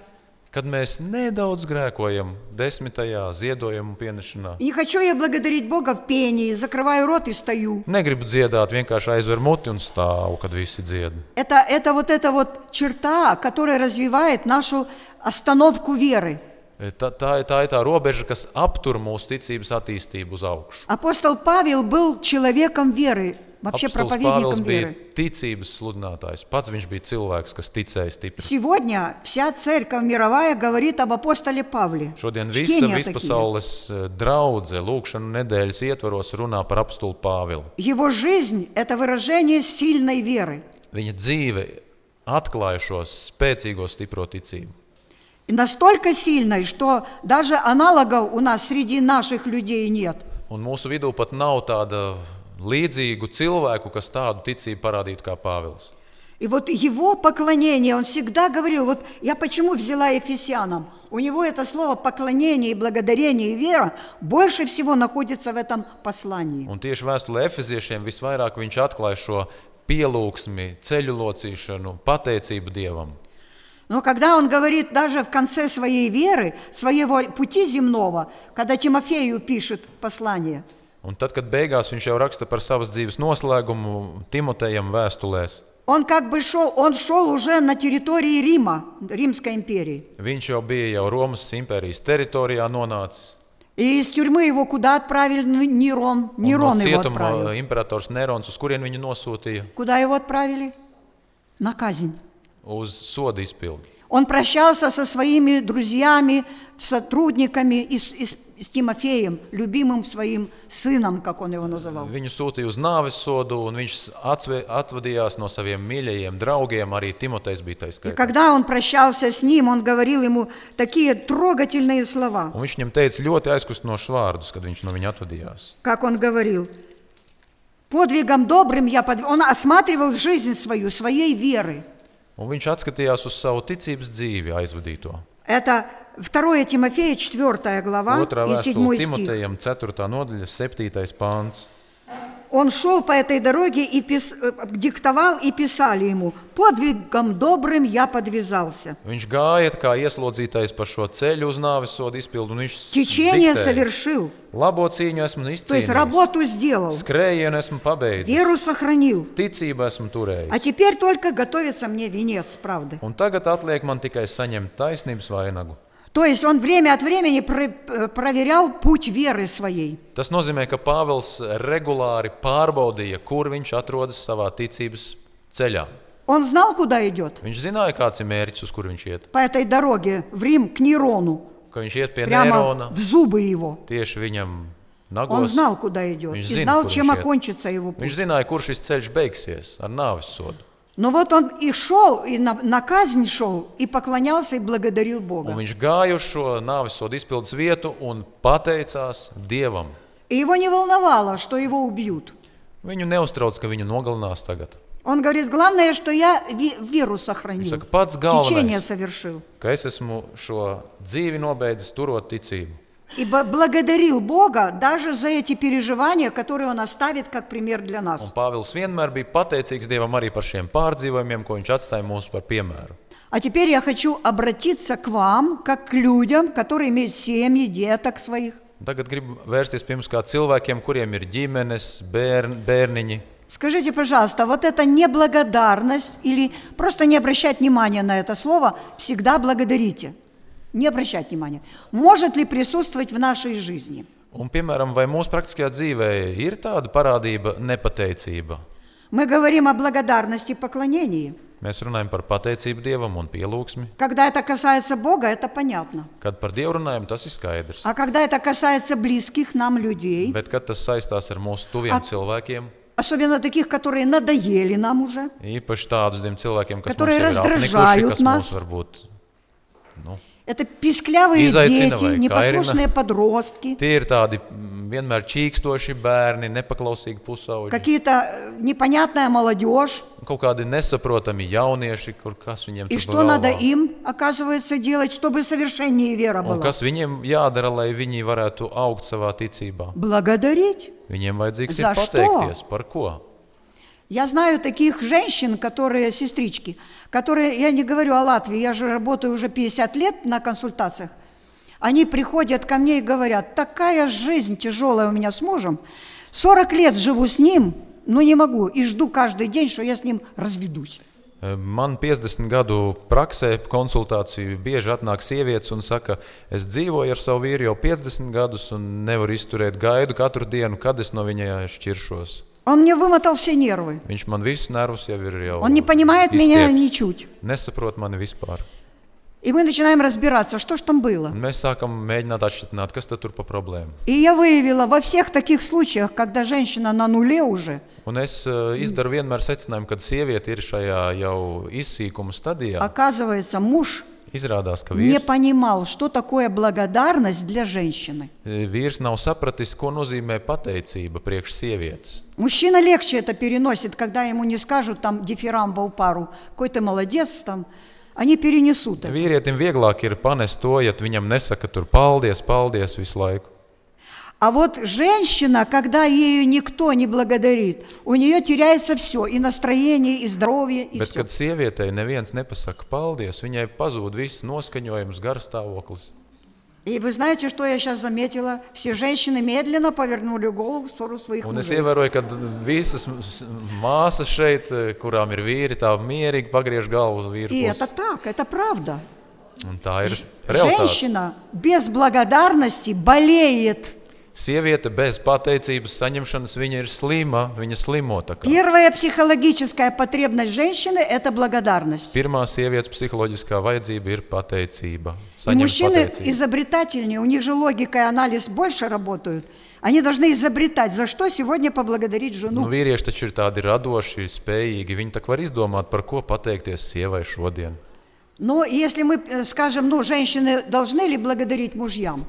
Kad mēs nedaudz grēkojam, desmitajā ziedojuma pienešanā.
И не хочу я благодарить Бога в пении, закрываю рот и стою.
Negribu dziedāt, vienkārši aizver muti un stāvu, kad visi dzied.
Это, это вот эта вот черта, которая развивает нашу остановку веры.
E, Tā, tā, ir- tā ir tā robeža, kas aptur mūsu ticības attīstību uz augšu.
Апостол Павел был человеком веры, вообще
Apostols Pāvils
проповедником
bija
веры.
ticības sludinātājs. Pats viņš bija cilvēks, kas ticēja stipri.
Сегодня вся церковь мировая говорит об апостоле Павле.
Šodien visa
Чтения такие.
vispasaules eh, draudze lūkšanu nedēļas ietvaros runā par apstulu Pāvilu.
Его жизнь – это выражение сильной веры.
Viņa dzīve atklāja šo spēcīgo, stipro ticību.
И настолько сильной, что даже аналогов у нас среди наших людей нет.
Un mūsu vidū pat nav tāda līdzīgu cilvēku, kas tādu ticību parādītu kā Pāvils.
И вот его поклонение, он всегда говорил, вот я почему взяла Ефесянам, у него это слово поклонение и благодарение и вера больше всего находится в этом послании.
Un tieši vēstulē Efeziešiem visvairāk viņš atklāja šo pielūgsmi, ceļu locīšanu, pateicību Dievam.
Но когда он говорит даже в конце своей веры, своего пути земного, когда Тимофею пишет послание,
Un tad, kad beigās viņš jau raksta par savas dzīves noslēgumu, Timotejam vēstulēs,
он как бы шел, он шел уже на территории Рима, Римской империи.
viņš jau bija jau Romas impērijas teritorijā nonācis.
И из тюрьмы его куда отправили? Нерон.
Un
Нерон
no
его
cietuma
отправил.
imperators Nerons, uz kurien viņu nosūtīja?
Куда его отправили? На казнь.
Uz sodu izpildi.
Он прощался со своими друзьями, сотрудниками и с, и с- с Тимофеем, любимым своим сыном, как он его называл.
Viņu sūtīja uz nāves sodu, un viņš atsve- atvadījās no saviem mīļajiem draugiem. Arī Timotejs bija
И
taisnība.
когда он прощался с ним, он говорил ему такие трогательные слова,
Un viņš viņam teica ļoti aizkustinošus vārdus, kad viņš no viņa atvadījās.
как он говорил. Подвигом добрым я подв... Он осматривал жизнь свою, своей веры.
Un viņš atskatījās uz savu ticības dzīvi, aizvadīto.
Это 2 Тимофея, 4 глава
Otrā
и 7
vēstule
стих.
Timotejam, 4. nodaļa, 7. pāns.
Он шел по этой дороге и пис- э, диктовал и писали ему, подвигом добрым я подвязался.
Viņš gāja tā kā ieslodzītais pa šo ceļu uz nāves sodu izpildu. un Viņš
Течение
diktēja,
совершил,
Labo cīņu esmu
то есть
izcīnījis.
работу сделал,
Skrējienu esmu pabeidzis.
веру сохранил.
Ticību esmu turējis.
А теперь только готовится мне венец правды.
Un tagad atliek man tikai saņemt taisnības vainagu.
То есть он время от времени про- э, проверял путь веры своей.
Tas nozīmē, ka Pāvils regulāri pārbaudīja, kur viņš atrodas savā ticības ceļā.
Он знал, куда идет?
Viņš zināja, kāds ir mērķis, uz kur viņš iet.
По этой дороге в Рим к Нерону,
Ka viņš iet pie
прямо
Nērona,
в зubы его.
tieši viņam
Он
nagos.
знал, куда идет,
Он
и
знал,
знал,
куда
чем
идет.
окончится его путь.
Viņš zināja, kur šis ceļš beigsies ar nāves sodu.
Но вот он и шел, и на, на казнь шел, и поклонялся, и благодарил
Un
Бога.
viņš gāja uz šo nāves sodu izpildes vietu un pateicās Dievam.
И его не волновало, что его убьют.
Viņu neuztrauc, ka viņu nogalinās tagad.
Он говорит, главное, что я ви- веру
Viņš
сохранил,
saka, pats
течение
galvenais,
совершил.
ka es esmu šo dzīvi nobeidzis, turot ticību.
И бо- благодарил Бога даже за эти переживания, которые он оставит как пример для
Un
нас.
Pāvils vienmēr bija pateicīgs Dievam arī par šiem pārdzīvojumiem, ko viņš atstāja mums par piemēru.
А теперь я хочу обратиться к вам, как к людям, которые имеют семьи, деток своих.
Tagad gribu vērsties pie jums kā cilvēkiem, kuriem ir ģimenes, bērn, bērniņi.
Скажите, пожалуйста, вот эта неблагодарность или просто не обращать внимания на это слово, всегда благодарите. Не обращать внимания. Может ли присутствовать в нашей жизни?
Un, piemēram, vai mūsu praktiskajā dzīvē ir tāda parādība, nepateicība?
Мы говорим о благодарности и поклонении.
Mēs runājam par pateicību Dievam un pielūgsmi.
Когда это касается Бога, это понятно.
Kad par Dievu runājam, tas ir skaidrs.
А когда это касается близких нам людей,
Bet kad tas saistās ar mūsu tuviem
Ak-
cilvēkiem,
особенно таких, которые надоели нам уже,
īpaši tādiem cilvēkiem, kas
Которые
mums ir apnikuši,
раздражают
kas
нас.
mūs varbūt nu,
это писклявые
Изайцина
дети,
войка,
непослушные подростки,
tie ir tādi mm, vienmēr čīkstoši bērni, nepaklausīgi pusauģi,
какие-то э, непонятная молодежь.
kaut kādi nesaprotami jaunieši, kur kas viņiem
И
tur
что
pa
надо
galvām.
им, оказывается, делать, чтобы совершеннее вера
Un
была?
kas viņiem jādara, lai viņi varētu augt savā ticībā?
Благодарить.
Viņiem vajadzīgs
Za
ir
što?
pateikties par ko.
Я знаю таких женщин, которые сестрички, которые, я не говорю о Латвии, я же работаю уже 50 лет на консультациях, они приходят ко мне и говорят, такая жизнь тяжелая у меня с мужем, 40 лет живу с ним, но не могу, и жду каждый день, что я с ним разведусь.
Man 50 gadu praksē, konsultāciju bieži atnāk sievietes un saka, es dzīvoju ar savu vīru jau 50 gadus un nevaru izturēt gaidu katru dienu, kad es no viņa šķiršos.
Он мне вымотал все нервы,
Viņš man visus nervus jau ir jau.
он не понимает меня
izstieps.
ничуть.
Nesaprot mani vispār.
И мы начинаем разбираться, что же там было.
Un mēs sākam mēģināt atšķirt, kas tad tur pa problēmu.
И я выявила во всех таких случаях, когда женщина на нуле уже,
Un es uh, izdaru vienmēr secinājumu, kad sieviete ir šajā jau izsīkuma stadijā.
оказывается, муж
Izrādās, ka
не
vīrs,
понимал, что такое благодарность для женщины.
vīrs nav sapratis, ko nozīmē pateicība priekš sievietes.
Мужчина легче это переносит, когда ему не скажут там дифирамба у пару, какой ты молодец там, они перенесут это.
Vīrietim vieglāk ir panest to, ja tu viņam nesaka, tur paldies, paldies visu laiku.
А вот женщина, когда ею никто не благодарит, у нее теряется все, и настроение, и здоровье, и
Bet,
всё.
kad sievietei neviens nepasaka paldies, viņai pazūd viss noskaņojums, garstāvoklis.
И вы знаете, что я сейчас заметила? Все женщины медленно повернули голову в сторону своих
Un es
мужей.
ievēroju, ka visas s- māsas šeit, eh, kurām ir vīri, tā mierīgi pagriež galvu uz vīru.
И это
pusi.
так, это правda.
Un Tā ir realitāte.
Женщина без благодарности болеет.
Sieviete bez pateicības saņemšanas, viņa ir slima, viņa slimo. tā kā.
Первая психологическая потребность женщины – это благодарность.
Pirmā sievietes psiholoģiskā vajadzība ir pateicība.
И
Saņemt
мужчины
pateicību.
изобретательнее, у них же логика и анализ больше работают. Они должны изобретать, за что сегодня поблагодарить
Nu,
жену.
vīrieši taču ir tādi radoši, spējīgi. Viņi tā kā var izdomāt, par ko pateikties sievai šodien.
Но если мы э, skажем, ну, женщины должны ли благодарить мужьям?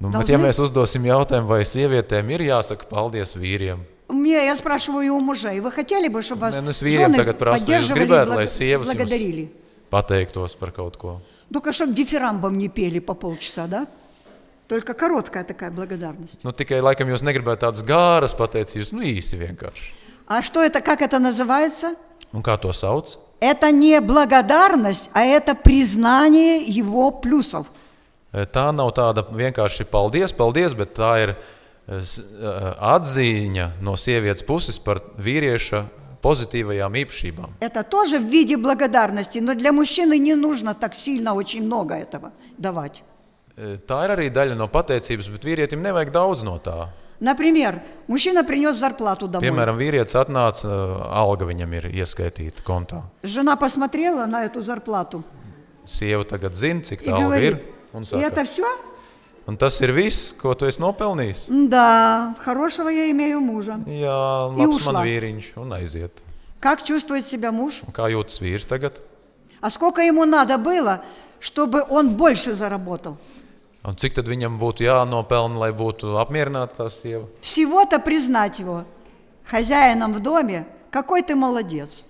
Nu,
Daudz
bet, ja
ne-
mēs uzdosim jautājumu, vai sievietēm ir jāsaka paldies vīriem,
Мне, я спрашиваю и у мужей, вы хотели бы, чтобы вас
Не, ну, с Вирем
жены
так отправился,
поддерживали и
изгребает,
благ-
лай, севус ему с-
благодарили?
pateiktos par kaut ko.
Только чтобы дифирамбом не пели по полчаса, да? Только короткая такая благодарность.
Nu, tikai laikam jūs negribētu tādas gāras pateicības, nu īsi vienkārši.
А что это, как это называется?
Un kā to sauc?
Это не благодарность, а это признание его плюсов.
E, Tā nav tāda vienkārši paldies, paldies, bet tā ir e, s- e, atziņa no sievietes puses par vīrieša pozitīvajām īpašībām.
Это тоже в виде благодарности, но для мужчины не нужно так сильно очень много этого давать.
E, Tā ir arī daļa no pateicības, bet vīrietim nevajag daudz no tā.
Например, мужчина принес зарплату домой.
Piemēram, vīrietis atnāca, uh, alga viņam ir ieskaitīta kontā.
Жена посмотрела на эту зарплату
Sieva tagad zina, cik
и
tā alga ir.
говорит,
Un,
и это
saka,
все?
un tas ir viss, ko tu esi nopelnījis.
Да, хорошего я имею мужа.
Jā, labs man
ušla.
vīriņš, un aiziet.
Как чувствует себя муж?
Un kā jūtas vīrs tagad?
А сколько ему надо было, чтобы он больше заработал?
Un cik tad viņam būtu jānopelna, lai būtu apmierināta tā sieva?
Всего-то признать его хозяином в доме, какой ты молодец.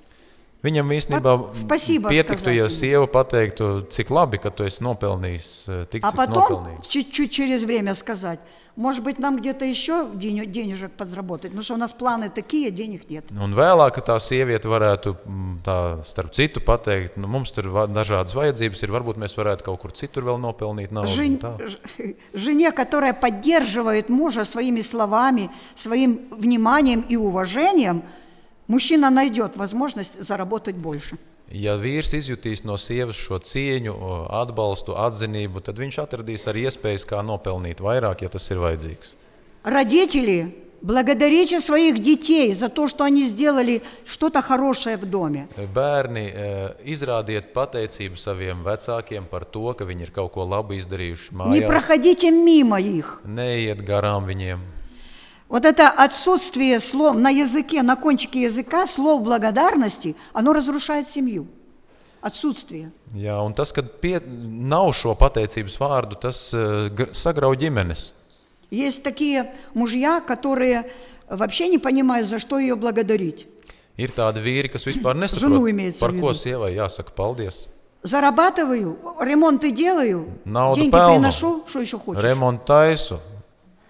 Viņam īstenībā
spasībā
pietiktu,
сказать
ja
viņam.
sieva pateiktu, cik labi, ka tu esi nopelnījis uh, tik
А
daudz.
потом чуть-чуть через время сказать, может быть, нам где-то еще день- денежек подзаработать, потому что у нас планы такие, денег нет.
Un vēlāk tā sieviete varētu, mm, tā, starp citu, pateikt, nu, mums tur va- dažādas vajadzības ir. Varbūt mēs varētu kaut kur citur vēl nopelnīt naudu. un
Жен-
tā.
ж- Жене, которая поддерживает мужа своими словами, своим вниманием и уважением, мужчина найдет возможность заработать больше.
Ja vīrs izjutīs no sievas šo cieņu, o, atbalstu, atzinību, tad viņš atradīs arī iespējas, kā nopelnīt vairāk, ja tas ir vajadzīgs.
Родители Благодарите своих детей за то, что они сделали что-то хорошее в доме.
Bērni, eh, izrādiet pateicību saviem vecākiem par to, ka viņi ir kaut ko labu izdarījuši
Не
mājās.
проходите мимо их.
Neiet garām viņiem.
Вот это отсутствие слов на языке, на кончике языка, слов благодарности, оно разрушает семью. Отсутствие.
Jā, un tas, ka pie, nav šo pateicības vārdu, tas eh, gr- sagrauj ģimenes.
Есть такие мужья, которые вообще не понимают, за что ее благодарить.
Ir tādi vīri, kas vispār
Ženu
nesaprot,
imējas
par
ar
ko
vidu.
sievai jāsaka paldies.
Зарабатываю, ремонты делаю,
Naudu
деньги
pelnu.
приношу, что еще хочешь.
Remontu taisu,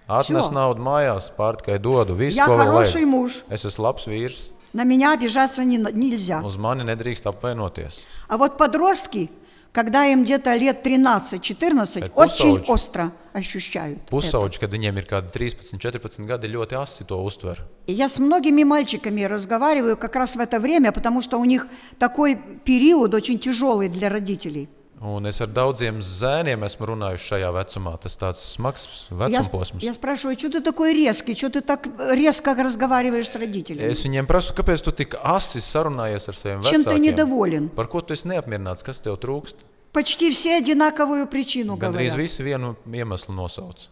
atnes
Всё.
naudu mājās, pārtikai dodu, visu,
Я
ko vēl
хороший
vajag.
муж,
Es esmu labs vīrs,
на меня обижаться не, на- нельзя.
uz mani nedrīkst apvainoties.
А вот подростки, когда им где-то лет 13-14,
Это
очень
пусовочка.
остро ощущают. это.
Pusauģi, kad viņiem ir kādi 13, 14 gadi, ļoti asi to uztver.
И я с многими мальчиками разговариваю как раз в это время, потому что у них такой период очень тяжелый для родителей.
Un es ar daudziem zēniem esmu runājis šajā vecumā. Tas tāds smags
Я, сп-
vecumposms.
я спрашиваю, что ты такой резкий, что ты так резко разговариваешь с родителями?
Es viņiem prasu, kāpēc tu tik asi sarunājies ar saviem
Чем ты
vecākiem?
недоволен?
Par ko tu esi neapmierināts? Kas tev trūkst?
Почти все одинаковую причину
Gan arī
говорят.
visi vienu iemeslu nosauc.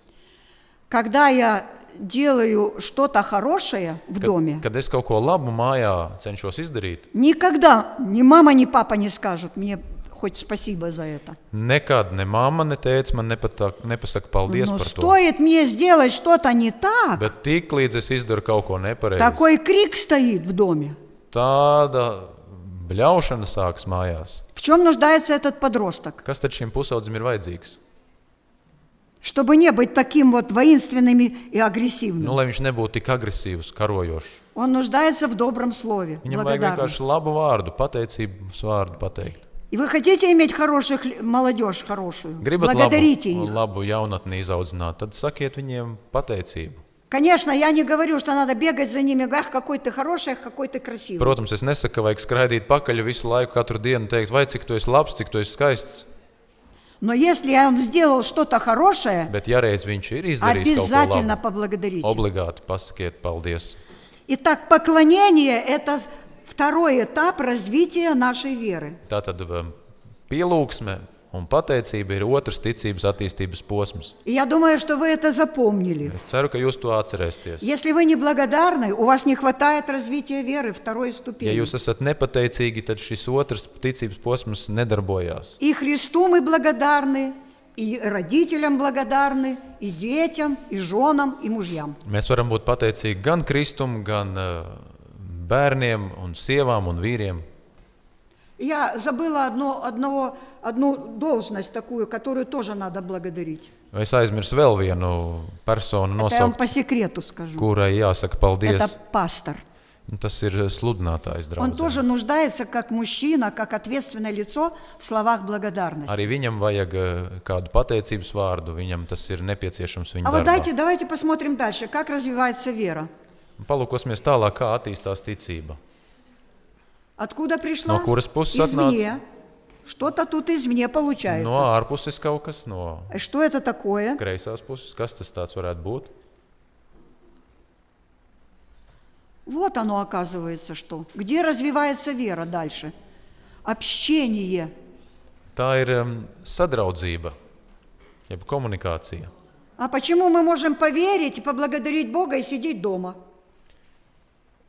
Когда я делаю что-то хорошее в
Kad,
доме,
kad es kaut ko labu mājā cenšos izdarīt,
никогда ни мама, ни папа не скажут мне хоть спасибо за это.
Nekad ne mamma, ne tēvs man nepatak, nepasaka paldies
Но
par to.
стоит мне сделать что-то не так,
Bet tiklīdz es izdaru kaut ko nepareizi,
такой крик стоит в доме.
tāda bļaušana sākas mājās.
В чем нуждается этот подросток?
Kas tad šim pusaudzim ir vajadzīgs?
Чтобы не быть таким вот воинственными и агрессивным.
Nu, lai viņš nebūtu tik agresīvs, karojošs.
Он нуждается в добром слове,
Viņam vajag
благодарности.
vienkārši labu vārdu, pateicības vārdu pateikt.
И вы хотите иметь хороших лю- молодежь хорошую?
Gribat
Благодарите
labu,
их.
labu jaunatni izaudzināt, tad sakiet viņiem pateicību.
Конечно, я не говорю, что надо бегать за ними, ах, какой ты хороший, ах, какой ты красивый.
Protams, es nesaku, ka vajag skraidīt pakaļ visu laiku, katru dienu teikt, vai cik tu esi labs, cik tu esi skaists.
Но если он сделал что-то хорошее,
Bet ja reiz viņš ir izdarījis kaut ko
обязательно
labu,
поблагодарите.
Obligāti pasakiet, paldies.
Итак, поклонение – это второй этап развития нашей веры.
Tā tad um, pielūgsme un pateicība ir otrs ticības attīstības posms.
И я думаю, что вы это запомнили.
Es ceru, ka jūs to atcerēsieties.
Если вы неблагодарны, у вас не хватает развития веры второй
Ja
ступени.
jūs esat nepateicīgi, tad šis otrs ticības posms nedarbojās.
И Христу мы благодарны, и родителям благодарны, и детям, и женам, и мужьям.
Mēs varam būt pateicīgi gan Kristum, gan eh, bērniem, un sievām un vīriem.
Я забыла одно, одного, одну должность такую, которую тоже надо благодарить.
Es aizmirsu vēl vienu personu
Это я вам
nosaukt,
по секрету скажу.
kurai jāsaka
Это
paldies.
пастор.
Un Tas ir eh, sludinātājs
Он
draugs.
тоже нуждается как мужчина, как ответственное лицо в словах благодарности.
Arī viņam vajag eh, kādu pateicības vārdu, viņam tas ir nepieciešams. Viņa
А вот
darbā.
дайте, давайте посмотрим дальше, как развивается вера.
Un Palūkosimies tālāk, kā attīstās ticība.
Откуда пришла?
No kuras puses
Извне. Что-то тут извне получается.
No ārpuses kaut kas, no
Э, Что это такое?
kreisās puses, kas tas tāds varētu būt.
Вот оно оказывается что. Где развивается вера дальше? Общение.
Tā ir um, sadraudzība, jeb komunikācija.
А почему мы можем поверить и поблагодарить Бога и сидеть дома?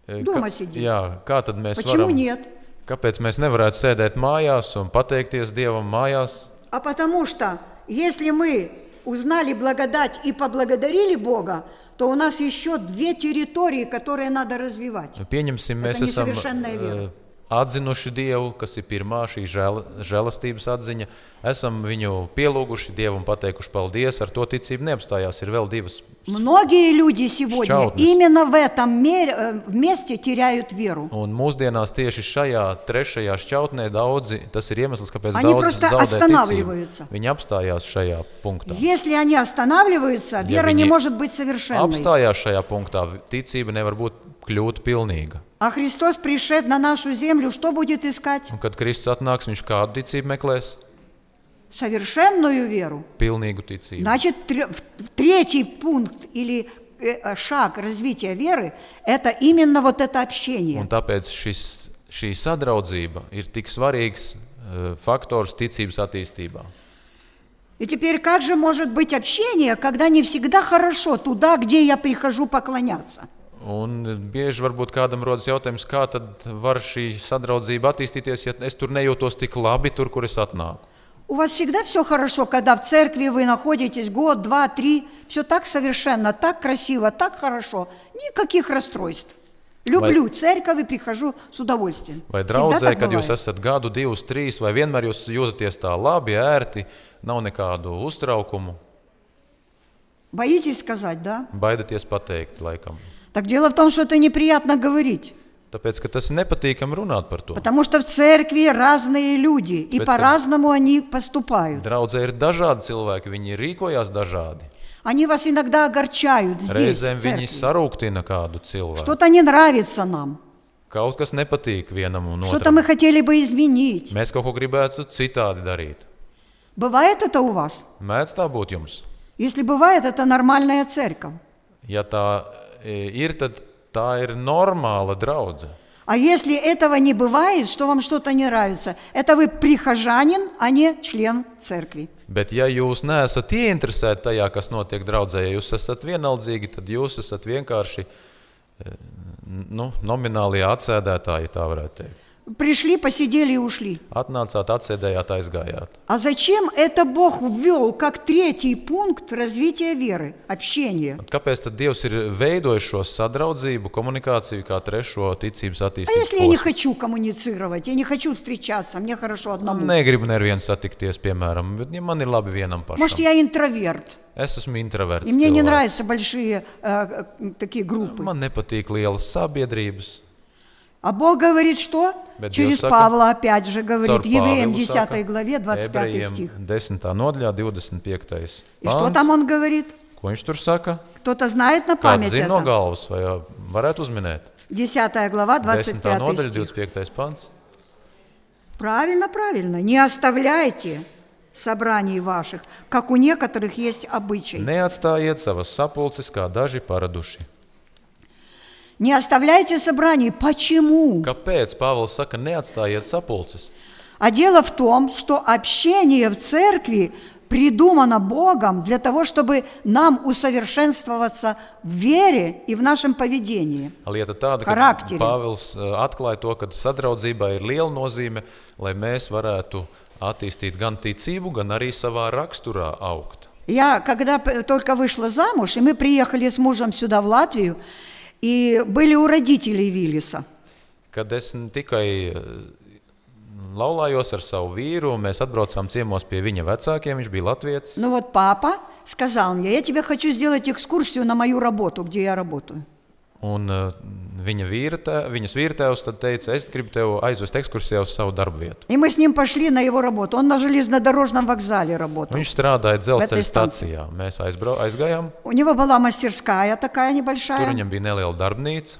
E,
Domā
ka-
sēdīt.
jā, kā tad mēs
Почему
varam?
нет?
Kāpēc mēs nevarētu sēdēt mājās un pateikties Dievam mājās?
А потому что, если мы узнали благодать и поблагодарили Бога, то у нас еще две территории, которые надо развивать.
Pieņemsim, mēs
Это
esam
nesoveršenная viera.
eh, atzinuši Dievu, kas ir pirmā šī žēl, žēlastības atziņa. Esam viņu pielūguši Dievu un pateikuši paldies. Ar to ticību neapstājās. Ir vēl divas.
Многие люди сегодня
Щаутность.
именно в этом мер- э, месте теряют веру.
Un mūsdienās tieši šajā trešajā šķautnē daudzi, tas ir iemesls, kāpēc
Они
daudzi
просто
zaudē
останавливаются.
ticību. Viņi apstājās šajā punktā.
Если они останавливаются, вера не
не-
может быть совершенной.
Apstājās šajā punktā, ticība nevar būt kļūt pilnīga.
А Христос пришед на нашу землю, что будет искать?
Un kad Kristus atnāks, viņš kādu ticību meklēs?
Совершенную веру.
Pilnīgu ticību.
Значит, тре- в- в третий пункт или э, шаг развития веры – это именно вот это
Un
общение.
tāpēc šis, šī sadraudzība ir tik svarīgs eh, faktors ticības attīstībā.
И теперь как же может быть общение, когда не всегда хорошо туда, где я прихожу поклоняться?
Un bieži varbūt kādam rodas jautājums, kā tad var šī sadraudzība attīstīties, ja es tur nejūtos tik labi, tur, kur es atnāku.
У вас всегда все хорошо, когда в церкви вы находитесь год, два, три, все так совершенно, так красиво, так хорошо, никаких расстройств. Люблю церковь и прихожу с удовольствием.
Vai
Всегда
draudzē,
так
kad jūs
бывает.
esat gadu, divus, trīs, vai vienmēr jūs jūtaties tā labi, ērti, nav nekādu uztraukumu,
Боитесь сказать, да?
baidaties pateikt laikam.
Так дело в том, что это неприятно говорить,
Tāpēc, ka tas ir nepatīkami runāt par to.
потому что в церкви разные люди, и
Представь.
по-раznому они поступают.
Draudzē ir dažādi cilvēki, viņi rīkojās dažādi.
Они вас иногда огорчают здесь,
Reizēm
в церкви.
viņi sarūktina kādu cilvēku.
Что-то не нравится нам,
Kaut kas nepatīk vienam un
что-то мы
otram.
хотели бы изменить.
Mēs kaut ko gribētu citādi darīt.
Бывает это у вас?
Mēdz tā būt jums.
Если бывает, это нормальная церковь.
Ja tā e, ir, tad tā ir normāla draudzene.
А если этого не бывает, что вам что-то не нравится, это вы прихожанин, а не член церкви.
Bet, ja jūs neesat ieinteresēti tajā, kas notiek draudzē, ja jūs esat vienaldzīgi, tad jūs esat vienkārši e, nu, nominālie atsēdētāji, ja tā varētu teikt.
Пришли, посидели и ушли.
Atnācāt, atsēdējāt, aizgājāt.
А зачем это Бог ввел как третий пункт развития веры, общения? А
Kāpēc tad Dievs ir veidojis šo sadraudzību, komunikāciju kā trešo ticības
А если я
attīstību?
не хочу коммуницировать, я не хочу встречаться, мне хорошо одному.
Negribu nevienu satikties, piemēram, bet ja man ir labi vienam pašam.
Может, я интроверт,
Es esmu
и
introverts.
мне не
cilvēks.
нравятся большие э, э, такие группы.
Man nepatīk lielas sabiedrības.
А Бог говорит, что?
Bet
Через
Dievs saka,
Павла опять же говорит,
Caur
евреям
Pāvilu
10
saka,
главе 25
Ebrejiem
стих.
10. nodaļā, 25.
И что
pāns.
там он говорит?
Ko viņš tur saka?
Кто-то знает на
Kāds
память
zina no
это?
galvas, vai ā, varētu uzminēt?
10 глава,
10. nodaļa,
25 стих.
25. pāns.
Правильно, правильно. Не оставляйте собраний ваших, как у некоторых есть обычай.
Neatstājiet savas sapulces, kā daži paraduši.
Не оставляйте собраний. Почему?
Kāpēc Pāvils saka, neatstājiet sapulces?
А дело в том, что общение в церкви придумано Богом для того, чтобы нам усовершенствоваться в вере и в нашем поведении.
Lieta tāda, ka
Karakteri.
Pāvils ā, atklāja to, ka sadraudzībā ir liela nozīme, lai mēs varētu attīstīt gan ticību, gan arī savā raksturā augt.
Я, когда п- только вышла замуж, и мы приехали с мужем сюда, в Латвию, и были у родителей Виллиса.
Kad es n- tikai eh, laulājos ar savu vīru, un mēs atbraucām ciemos pie viņa vecākiem. Viņš bija Latvijas.
Ну вот папа сказал мне, я тебе хочу сделать экскурсию на мою работу, где я работаю.
Un eh, viņa vīra, tē, viņas vīrtēvs tad teica, es gribu tevi aizvest ekskursijā uz savu darbu vietu.
И мы с ним пошли на его работу. Он на железнодорожном вокзале работал.
Viņš strādāja
Bet
dzelzceļa
es tam-
stācijā. Mēs aizbrau, aizgājām,
У него была мастерская такая
tur
небольшая.
viņam bija neliela darbnīca.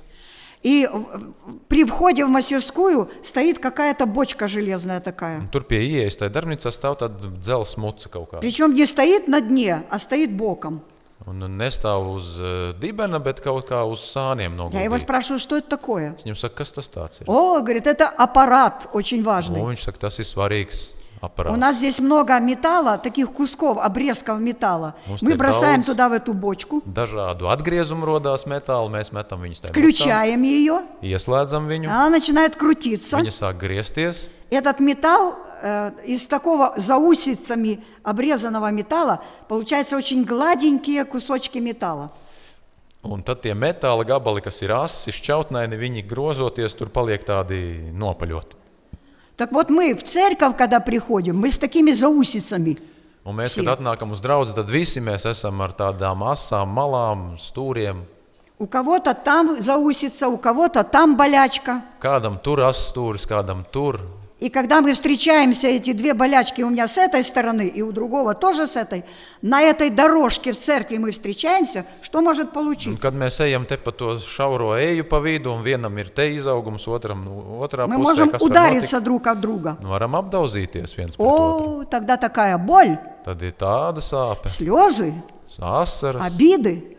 И в- в- при входе в мастерскую стоит какая-то бочка железная
Un
такая.
Tur pie ieejas tajā darbnīcā stāv tāda dzelzceļa muca kaut kāda.
Причем не стоит на дне, а стоит боком.
Un nestāv uz eh, dibena, bet kaut kā uz sāniem
Я его
noguldīta.
спрашиваю, что это такое?
Es viņam saku, kas tas tāds ir?
О, говорит, это аппарат очень важный.
Un viņš saka, tas ir svarīgs
У
aparāts.
нас здесь много металла, таких кусков, обрезков металла.
Может,
Мы
это
бросаем
даунс?
туда в эту бочку,
dažādu atgriezumu radās metāli, mēs metam viņus tajā mucā,
включаем ее,
ieslēdzam viņu,
она начинает крутиться.
viņi sāk griezties.
Этот металл э, из такого заусицами обрезанного металла получается очень гладенькие кусочки металла.
Un tad tie metāla gabali, kas ir asi, šķautnaini, viņi grozoties, tur paliek tādi nopaļoti.
Так вот мы в церковь, когда приходим, мы с такими заусицами.
Un mēs,
Šie.
kad atnākam uz draugu, tad visi mēs esam ar tādām asām, malām, stūriem.
У кого-то там заусица, у кого-то там болячка.
Kādam tur asstūris, kādam tur.
И когда мы встречаемся, эти две болячки у меня с этой стороны и у другого тоже с этой, на этой дорожке в церкви мы встречаемся, что может
Un,
получиться?
kad mēs ejam te pa to šauro eju pa vidu, un vienam ir te izaugums, otram nu, otrā
Мы
pusē,
можем
kas var notikt, nu,
удариться друг от друга.
varam apdauzīties viens pret otru.
О, тогда такая боль,
Tad ir tāda sāpe,
слезы,
asaras.
обиды.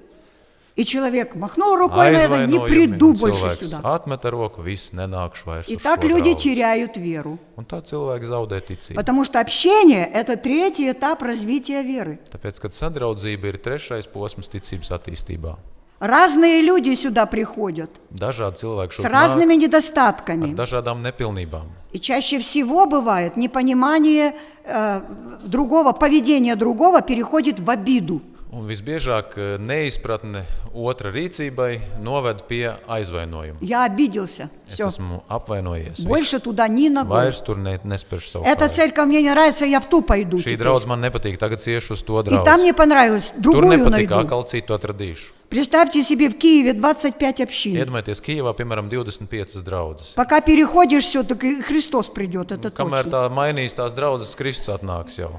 И человек махнул рукой на это, не приду больше
cilvēks
сюда.
atmeta roku, viss nenākšu vairs.
И
uz
так
šo
люди
draugu."
теряют веру.
Un tā cilvēki zaudē ticību.
Потому что общение – это третий этап развития веры.
Tāpēc, kad sadraudzība ir trešais posms ticības attīstībā,
Разные люди сюда приходят
dažādi cilvēki
с
šeit nāk
разными
ar
недостатками.
dažādām nepilnībām.
И чаще всего бывает непонимание э, другого, поведение другого переходит в обиду.
Un visbiežāk eh, neizpratne otra rīcībai noved pie aizvainojuma.
Я обиделся.
Es
Все.
esmu apvainojies. viss.
Больше туда ни ногой.
Vairs tur ne, nespēršu savu
Эта
kāju.
церковь мне не нравится, я в ту пойду.
Šī
теперь.
draudz man nepatīk, tagad ciešu uz to
И там
draugu.
мне понравилось,
Tur
другую
nepatīk,
найду.
atkal citu atradīšu.
Представьте себе, в Киеве 25 общин.
Iedomājieties, Kijavā, piemēram, 25 draugas.
Пока переходишь все, так и Христос придет, это
Kamēr
точно.
tā mainīs tās draudzes, Kristus atnāks jau.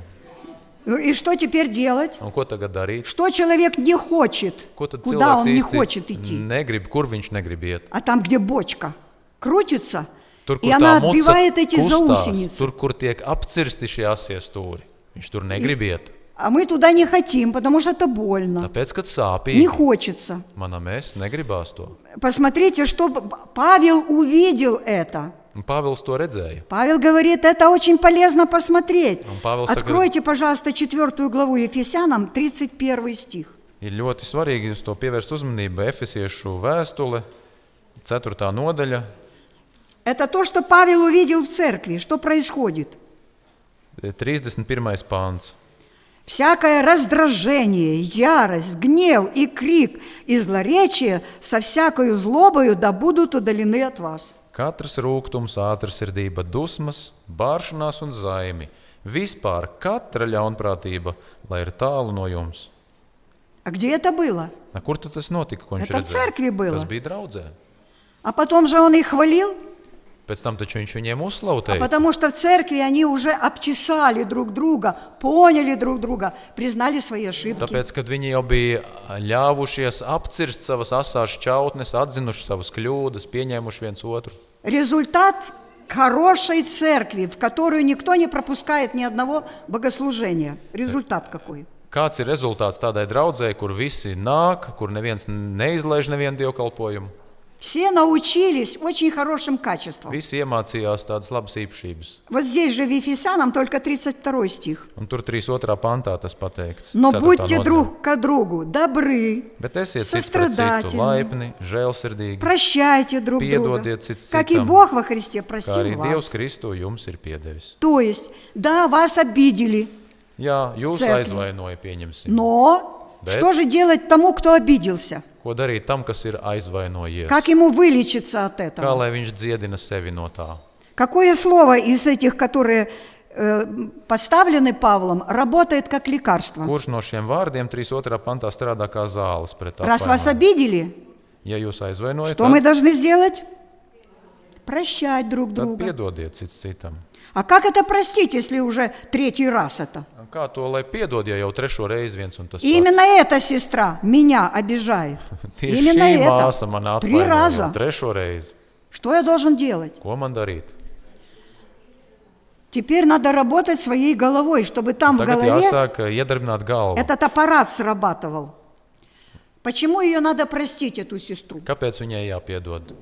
Ну И что теперь делать?
Un ko tagad darīt?
Что человек не хочет?
Ko tad
Куда он
cilvēks
не
īsti
хочет идти?
negrib, kur viņš negrib iet?
А там, где бочка крутится,
Tur,
и
kur tā
она
muca
отбивает эти
kustās,
заусеницы.
tur, kur tiek apcirsti šie asie stūri. Viņš tur negrib iet.
А мы туда не хотим, потому что это больно.
Tāpēc, kad
Не
sāpīgi
хочется.
manā mēs negribās to.
Посмотрите, что П- Павел увидел это.
Un Pāvils to redzēja.
Павел говорит, это очень полезно посмотреть.
Он, Павел, согр-
Откройте, пожалуйста, четвертую главу Ефесянам, 31 стих.
Ir ļoti svarīgi uz to pievērst uzmanību. Efesiešu vēstule, 4. nodaļa.
Это то, что Павел увидел в церкви, что происходит.
31. pāns.
Всякое раздражение, ярость, гнев и крик и злоречие со всякою злобою да будут удалены от вас.
Katrs rūkums, ātrsirdība, dusmas, bāršanās un zaimi. Vispār katra ļaunprātība, lai ir tālu no jums.
А где это было?
Na, kur tad tas notika? ko viņš
Ja tam
redzēja?
cerkvī bija.
Tas bija draudzē.
А потом же он их хвалил,
Pēc tam taču viņš viņiem
а
uzslavēja.
потому что в церкви они уже обчесали друг друга, поняли друг друга, признали свои ошибки.
Tāpēc, kad viņi jau bija ļāvušies apcirst savas asās čautnes, atzinuši savas kļūdas, pieņēmuši viens otru.
Результат хорошей церкви, в которую никто не пропускает ни одного богослужения. Результат какой?
Kāds ir rezultāts tādai draudzēji, kur visi nāk, kur neviens neizlaiž nevienu dievkalpojumu?
Все научились очень хорошим качествам.
Visi iemācījās tādas labas īpašības.
Вот здесь же в Ефесянам только 32 стих.
Un tur 3.2. pantā tas pateikts.
Но
ceturtā
будьте
nodaļa.
друг к другу добры,
Bet esiet cits pret citu
Sastradātini.
laipni, žēlsirdīgi,
прощайте друг друга,
Piedodiet cits
как и
citam,
Бог во Христе
kā arī
простил
Dievs
вас.
Kristu jums ir piedevis.
То есть, да, вас обидели,
Jā, jūs
Cerkvi. Nu.
aizvainojat, pieņemsim.
но
Bet-
что же делать тому, кто обиделся?
Ko darīt tam, kas ir aizvainojies?
Как ему вылечиться от
Kā
этого?
lai viņš dziedina sevi no tā?
Какое слово из этих, которые э, поставлены Павлом, работает как лекарство?
Kurš no šiem vārdiem 3.2. pantā strādā kā zāles pret
Раз вас
apvainojumu?
обидели,
Ja jūs aizvainojat,
что мы
tad,
должны сделать? Прощать друг
tad
друга.
piedodiet cits citam.
А как это простить, если уже третий раз это?
Kā to lai piedod, ja jau trešo reizi viens un tas
И
pats?
именно эта сестра меня обижает.
Tieši
Именно
šī
это.
māsa man
Три
atvainoja
раза.
trešo reizi.
Что я должен делать?
Ko man darīt?
Teперь надо работать своей головой, чтобы там в
Tagad
голове
jāsāk eh, iedarbināt galvu.
этот аппарат срабатывал. Почему ее надо простить, эту сестру?
Kāpēc viņai jāpiedod?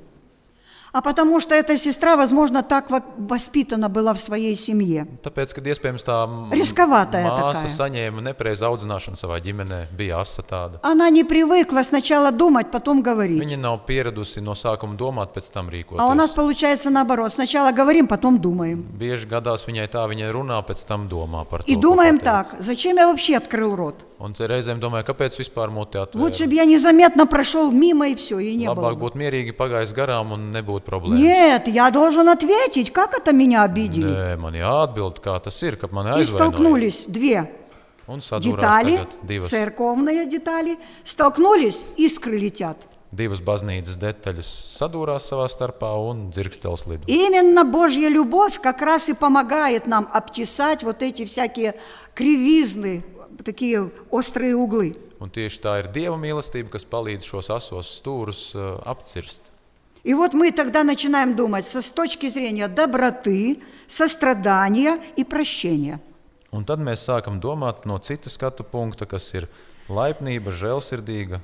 А потому что эта сестра, возможно, так во- воспитана была в своей семье.
Tāpēc, kad iespējams tā m-
Riskavatā ir
māsa
takā.
saņēma nepareizu audzināšanu savā ģimenē, bija asa tāda.
Она не привыкла сначала думать, потом говорить.
Viņa nav pieradusi no sākuma domāt, pēc tam rīkoties.
А у нас получается наоборот. Сначала говорим, потом думаем.
Bieži gadās viņai tā, viņa runā, pēc tam domā par to.
И
ko
думаем
pateica.
так, зачем я вообще открыл рот?
Un te reizēm domāju, kāpēc vispār mūti
Лучше
atvērt.
бы я незаметно прошел мимо и все, и не было.
Labāk
бы.
būtu mierīgi pagājis garām un nebūtu problēmu.
Нет, я должен ответить, как это меня обидели.
Nē, man jāatbild, kā tas ir, kad man
И
aizvainoja.
столкнулись две
Un sadūrās
детали,
tagad divas,
церковные детали, столкнулись, искры летят.
divas baznīcas detaļas sadūrās savā starpā un dzirkstels lido.
И именно Божья любовь как раз и помогает нам обтесать вот эти всякие кривизны, такие острые углы.
Un tieši tā ir dieva mīlestība, kas palīdz šos asos stūrus uh, apcirst.
И вот мы тогда начинаем думать со, с точки зрения доброты, сострадания и прощения.
Un tad mēs sākam domāt no citas skatu punkta, kas ir laipnība, žēlsirdīga,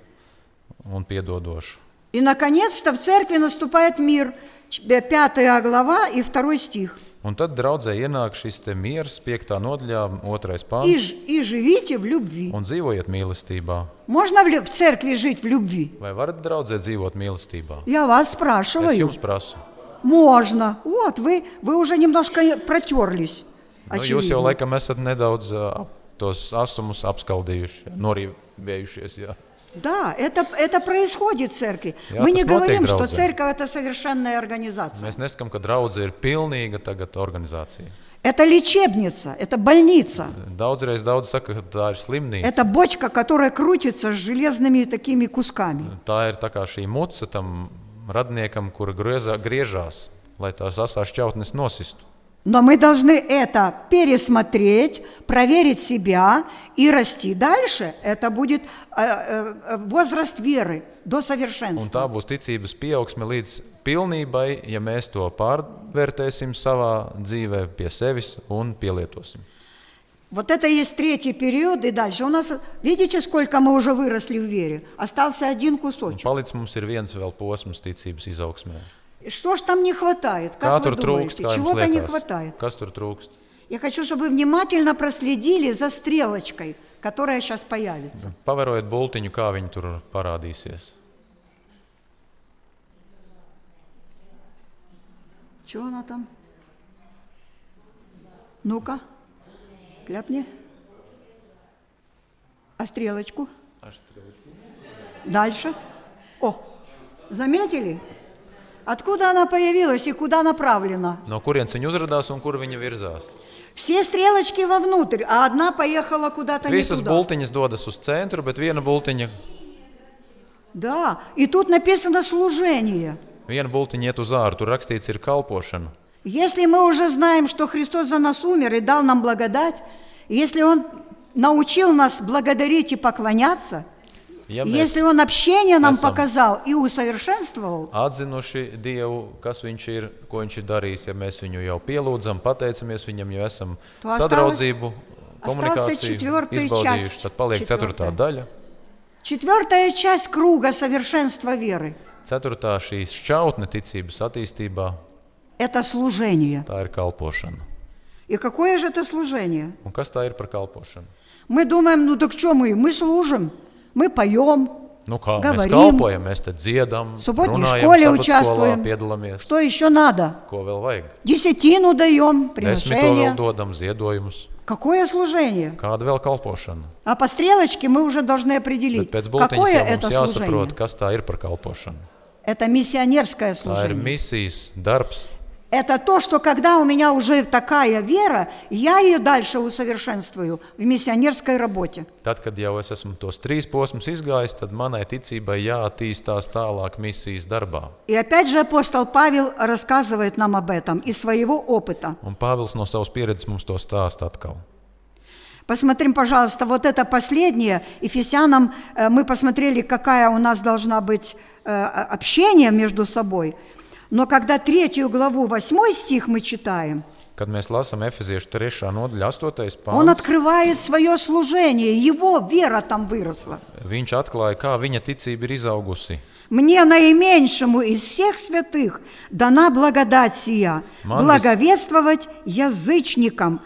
un piedodošu.
И, наконец-то, в церкви наступает мир. Ч- э, Пятая глава и второй стих.
Un tad draudzē ienāk šis te miers, 5. nodaļā, 2.
И,
pāns.
ж- и живите в любви.
Un dzīvojiet mīlestībā.
Можно в, лю- в церкви жить в любви?
Vai varat draudzē dzīvot mīlestībā?
Я вас
Es
спрашиваю.
jums prasu.
Можно. Вот, вы, вы уже немножко и протерлись.
Nu, jūs jau
очевидно.
laikam esat nedaudz ā, ap- tos asumus apskaldījuši, jā, norīvējušies. Jā.
Да, это, это происходит в церкви.
Я
Мы не
посмотрел
говорим, что
Тейграуза.
церковь – это совершенная организация.
Mēs neskatām, ka draudzība ir pilnīga tagad organizācija.
Это лечебница, это больница.
Daudzreiz daudz saka, ka tā ir slimnīca.
Это бочка, которая крутится с железными такими кусками.
Tā ir tā kā šī muca tam radniekam, kura griezā, griežās, lai tās asās šķautnes nosistu.
Но мы должны это пересмотреть, проверить себя и расти дальше. Это будет э, э, возраст веры до
Un tā
совершенства.
būs ticības pieaugsme līdz pilnībai, ja mēs to pārvērtēsim savā dzīvē, pie sevis un pielietosim.
Вот это и есть третий период, и дальше. У нас, видите, сколько мы уже выросли в вере? Остался один
Un
кусочек.
palicis mums ir viens vēl posms ticības izaugsmē.
Что ж там не хватает?
Kā
Как вы
tur trūkst?
думаете?
Kā jums
Чего-то не
liekas?
хватает.
Kas tur trūkst?
Я хочу, чтобы вы внимательно проследили за стрелочкой, которая сейчас появится.
Pavērojiet bultiņu, kā viņi tur parādīsies.
Чего она там? Ну-ка, кляпни. А стрелочку? Дальше. О, заметили? Откуда она появилась и куда направлена?
No kurienes viņi uzrādās un kur viņi virzās?
Все стрелочки вовнутрь, а одна поехала куда-то не
Visas
туда.
bultiņas dodas uz centru, bet viena bultiņa,
Да, и тут написано служение.
viena bultiņa iet uz ārā. Tur rakstīts, ir kalpošana.
Если мы уже знаем, что Христос за нас умер и дал нам благодать, если Он научил нас благодарить и поклоняться,
Ja
и
mēs
если Он общение нам
Esam.
показал и усовершенствовал,
atzinuši Dievu, kas Viņš ir, ko Viņš ir darījis, ja mēs viņu jau pielūdzam, pateicamies Viņam, jau esam
Tu astālis-
sadraudzību,
astālis
komunikāciju
četvrtai
izbaudījuši,
časti.
tad paliek ceturtā
Četvrtai.
daļa.
четвертая часть круга совершенства веры
Ceturtā šī šķautne ticības attīstībā,
– это служение.
tā ir kalpošana.
И какое же это служение?
Un kas tā ir par kalpošanu?
Мы думаем, ну так что мы? Мы служим, мы поем.
Nu, kā mēs
Gavarim.
kalpojam, mēs te dziedam,
Sobotņu
runājam,
školē
sabatskolā
učastvojam.
piedalāmies.
Что еще надо?
Ko vēl vajag?
Десятину даем,
Desmito vēl
приношение.
dodam ziedojumus.
Какое служение?
Kāda vēl kalpošana?
А по стрелочке мы уже должны
Bet
определить,
pēc
какое
būtības jau
это
mums jāsaprot,
служение.
kas tā ir par kalpošanu.
Это миссионерское
Tā ir
служение.
misijas darbs.
Это то, что когда у меня уже такая вера, я ее дальше усовершенствую в миссионерской работе.
Tad, kad jau es esmu tos trīs posmus izgājis, tad manai ticībai jāattīstās tālāk misijas darbā.
И опять же апостол Павел рассказывает нам об этом из своего опыта.
Un Pāvils no savas pieredzes mums to stāsta atkal.
Посмотрим, пожалуйста, вот это последнее. Ефесянам э, мы посмотрели, какая у нас должна быть э, о- общение между собой. Но когда третью главу, восьмой стих мы читаем –
Kad mēs lasām Efeziešu 3. nodaļu, 8.
Он
pāns,
открывает свое служение, его вера там выросла.
viņš atklāja, kā viņa ticība ir izaugusi.
Мне наименьшему из всех святых дана благодать сия,
Мангас.
благовествовать язычникам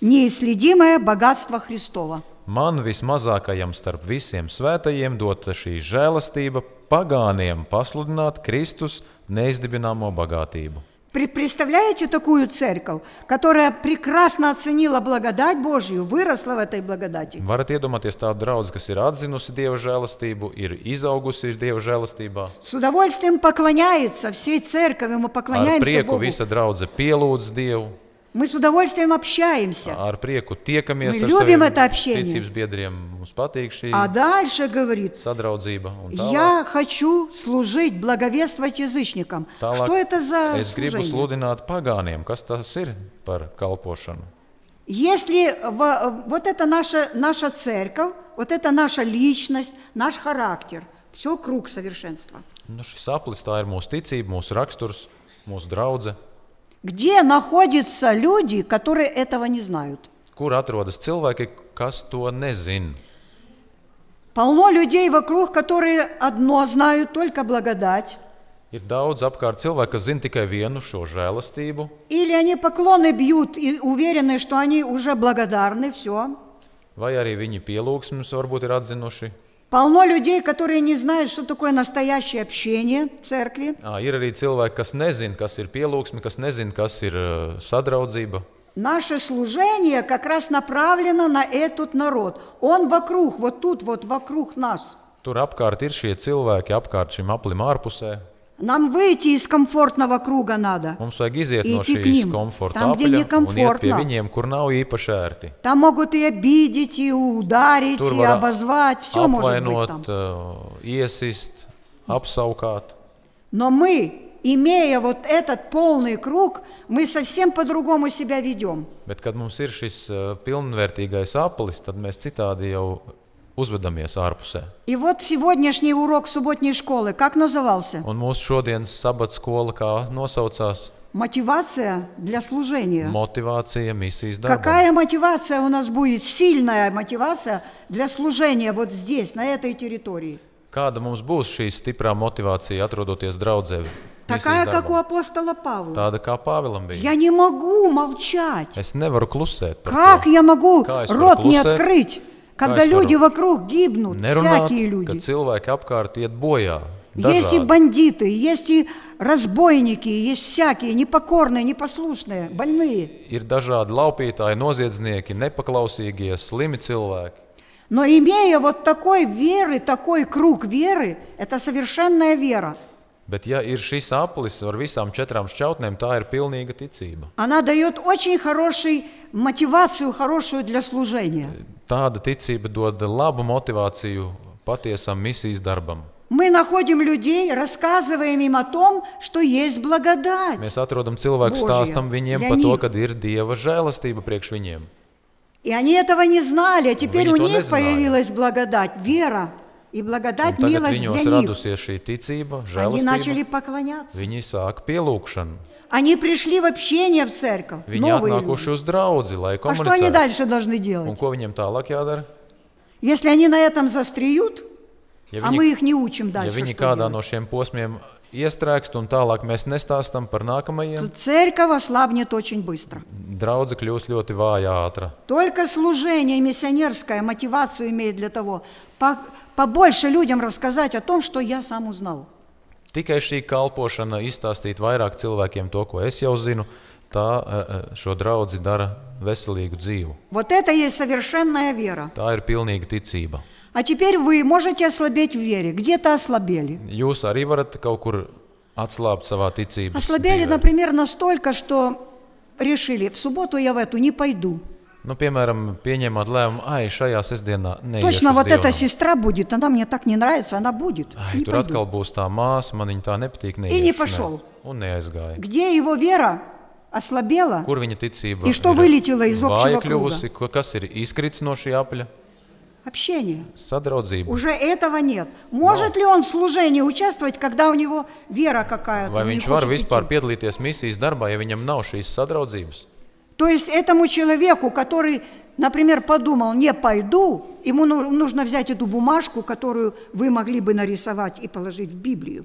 неисследимое богатство Христова.
Man vismazākajam starp visiem svētajiem dota šī žēlastība, pagāniem pasludināt Kristus neizdibināmo bagātību.
Пре- Представляете такую церковь, которая прекрасно оценила благодать Божью, выросла в этой благодати?
Varat iedomāties tādu draugu, kas ir atzinusi Dieva žēlastību, ir izaugusi Dieva žēlastībā.
С удовольствием поклоняется всей церковью, мы
Ar
поклоняемся
prieku
Богу.
visa draudzene pielūdz Dievu,
Мы с удовольствием общаемся.
ar prieku
Мы
tiekamies ar
любим
saviem
это общение.
ticības biedriem. Mums patīk šī
А дальше говорит,
sadraudzība. un tālāk.
Я хочу служить, благовествовать язычникам.
Tālāk
Что это за
es gribu
служение?
sludināt pagāniem, kas tas ir par kalpošanu.
Если во- вот это наша, наша церковь, вот это наша личность, наш характер, все круг совершенства.
Nu, šis aplis tā ir mūsu ticība, mūsu raksturs, mūsu draudzene.
Где находятся люди, которые этого не знают?
Kur atrodas cilvēki, kas to nezina?
Полно людей вокруг, которые одно знают, только благодать.
Ir daudz apkārt cilvēku, kas zina tikai vienu šo žēlastību,
Или они поклоны бьют и уверены, что они уже благодарны, все.
vai arī viņi pielūgsmes varbūt ir atzinuši.
Полно людей, которые не знают, что такое настоящее общение в церкви.
À, ir arī cilvēki, kas nezina, kas ir pielūgsme, kas nezina, kas ir ā, sadraudzība.
Наше служение как раз направлено на этот народ. Он вокруг, вот тут, вот вокруг нас.
Tur apkārt ir šie cilvēki, apkārt šim aplim ārpusē.
Нам выйти из комфортного круga надо.
Mums vajag iziet
Iet
no
ik
šīs
ņem,
komforta
tam, gdje
apļa un iet pie
nekomfortno.
viņiem, kur nav īpaši ērti.
Там могут и обидеть, и ударить,
Tur
и
var
обозвать,
а
все может быть там.
apvainot, ā, iesist, apsaukāt.
Но мы, имея вот этот полный круг, мы совсем по-другому себя ведем.
Bet, kad mums ir šis ā, pilnvērtīgais aplis, tad mēs citādi jau uzvedamies ārpusē.
И вот сегодняшний урок субботней школы, как назывался?
Un mūsu šodienas sabats skola, kā nosaucās,
Мотивация для служения.
motivācija misijas darbā.
Какая мотивация у нас будет, сильная мотивация для служения вот здесь, на этой территории?
Kāda mums būs šī stiprā motivācija, atrodoties draudzē? misijas
Такая, как у
darbā?
апостола Павла.
Tāda kā Pāvēlam bija.
Я не могу молчать.
Es nevaru klusēt. par
Как
to.
я могу
Кайс
рот не
Варклусе,
открыть, когда
Кайс
люди
Варклу-
вокруг гибнут,
Nerunāt,
всякие
ka
люди?
cilvēki apkārt iet bojā.
Есть и
dažādi.
бандиты, есть и разбойники, есть всякие непокорные, непослушные, больные.
Ir dažādi laupītāji, noziedznieki, nepaklausīgie, slimi cilvēki.
Но имея вот такой веры, такой круг веры, это совершенная вера.
Bet, ja ir šis aplis ar visām četrām šķautnēm, tā ir pilnīga ticība.
Она дает очень хорошую мотивацию, хорошую для служения.
Tāda ticība dod labu motivāciju patiesam misijas darbam.
Мы находим людей, рассказываем им о том, что есть благодать.
Mēs atrodam cilvēku
Božie,
stāstam viņiem
ja
par to,
viņi-
ka ir dieva žēlastība priekš viņiem.
И они этого не знали, а теперь
Они
у
то не
них
знали. Ну,
появилась благодать, вера и
Un
благодать,
Tagad
милость
viņos
для них.
radusies šī ticība,
Они начали
žēlastība.
поклоняться.
Viņi sāk pielūgšanu.
Они пришли в общение в церковь,
Viņi
новые
atnākuši
люди.
uz draugu, lai
А что они
komunicētu.
дальше должны
Un
делать?
ko viņiem tālāk jādara?
Если они на этом застреют,
Ja
а
viņi,
мы их не учим
ja
дальше,
viņi
что
kādā
делать,
no šiem posmiem iestrēgst, un tālāk mēs nestāstām par
то
nākamajiem,
церковь ослабнет очень быстро.
draudzē kļūs ļoti vāja ātrā.
Только служение миссионерское мотивацию имеет для того, по- побольше людям рассказать о том, что я сам узнал.
Tikai šī kalpošana, izstāstīt vairāk cilvēkiem to, ko es jau zinu, tā eh, eh, šo draugu dara veselīgu dzīvi.
Вот это есть совершенная вера.
Tā ir pilnīga ticība.
А теперь вы можете ослабеть в вере. Где-то ослабели.
Jūs arī varat kaut kur atslābt savā ticībā.
Ослабели, например, настолько, что решили, в субботу я в эту не пойду.
Nu, piemēram, pieņemat lēmumu, ah, šajā sestdienā neiešu
Точно
uz
вот эта
dievnamu.
сестра будет, она мне так не нравится, она будет.
Ai,
Не
tur
пойду.
atkal būs tā māsa, man viņa tā nepatīk. neiešu,
Viņi
nē.
pašol.
Un neaizgāja.
Где его вера ослабела,
Kur viņa ticība
I što vylītila iz
vāja
opšķeva
kļuvusi? ko- Kas ir izkritis no šī apļa?
общение.
Sadraudzība.
Уже этого нет. Может ли он в служении участвовать, когда у него вера какая-то?
Vai
он не
viņš var
хочет идти?
vispār piedalīties misijas darbā, ja viņam nav šīs sadraudzības?
То есть этому человеку, который, например, подумал, не пойду, ему ну- нужно взять эту бумажку, которую вы могли бы нарисовать и положить в Библию.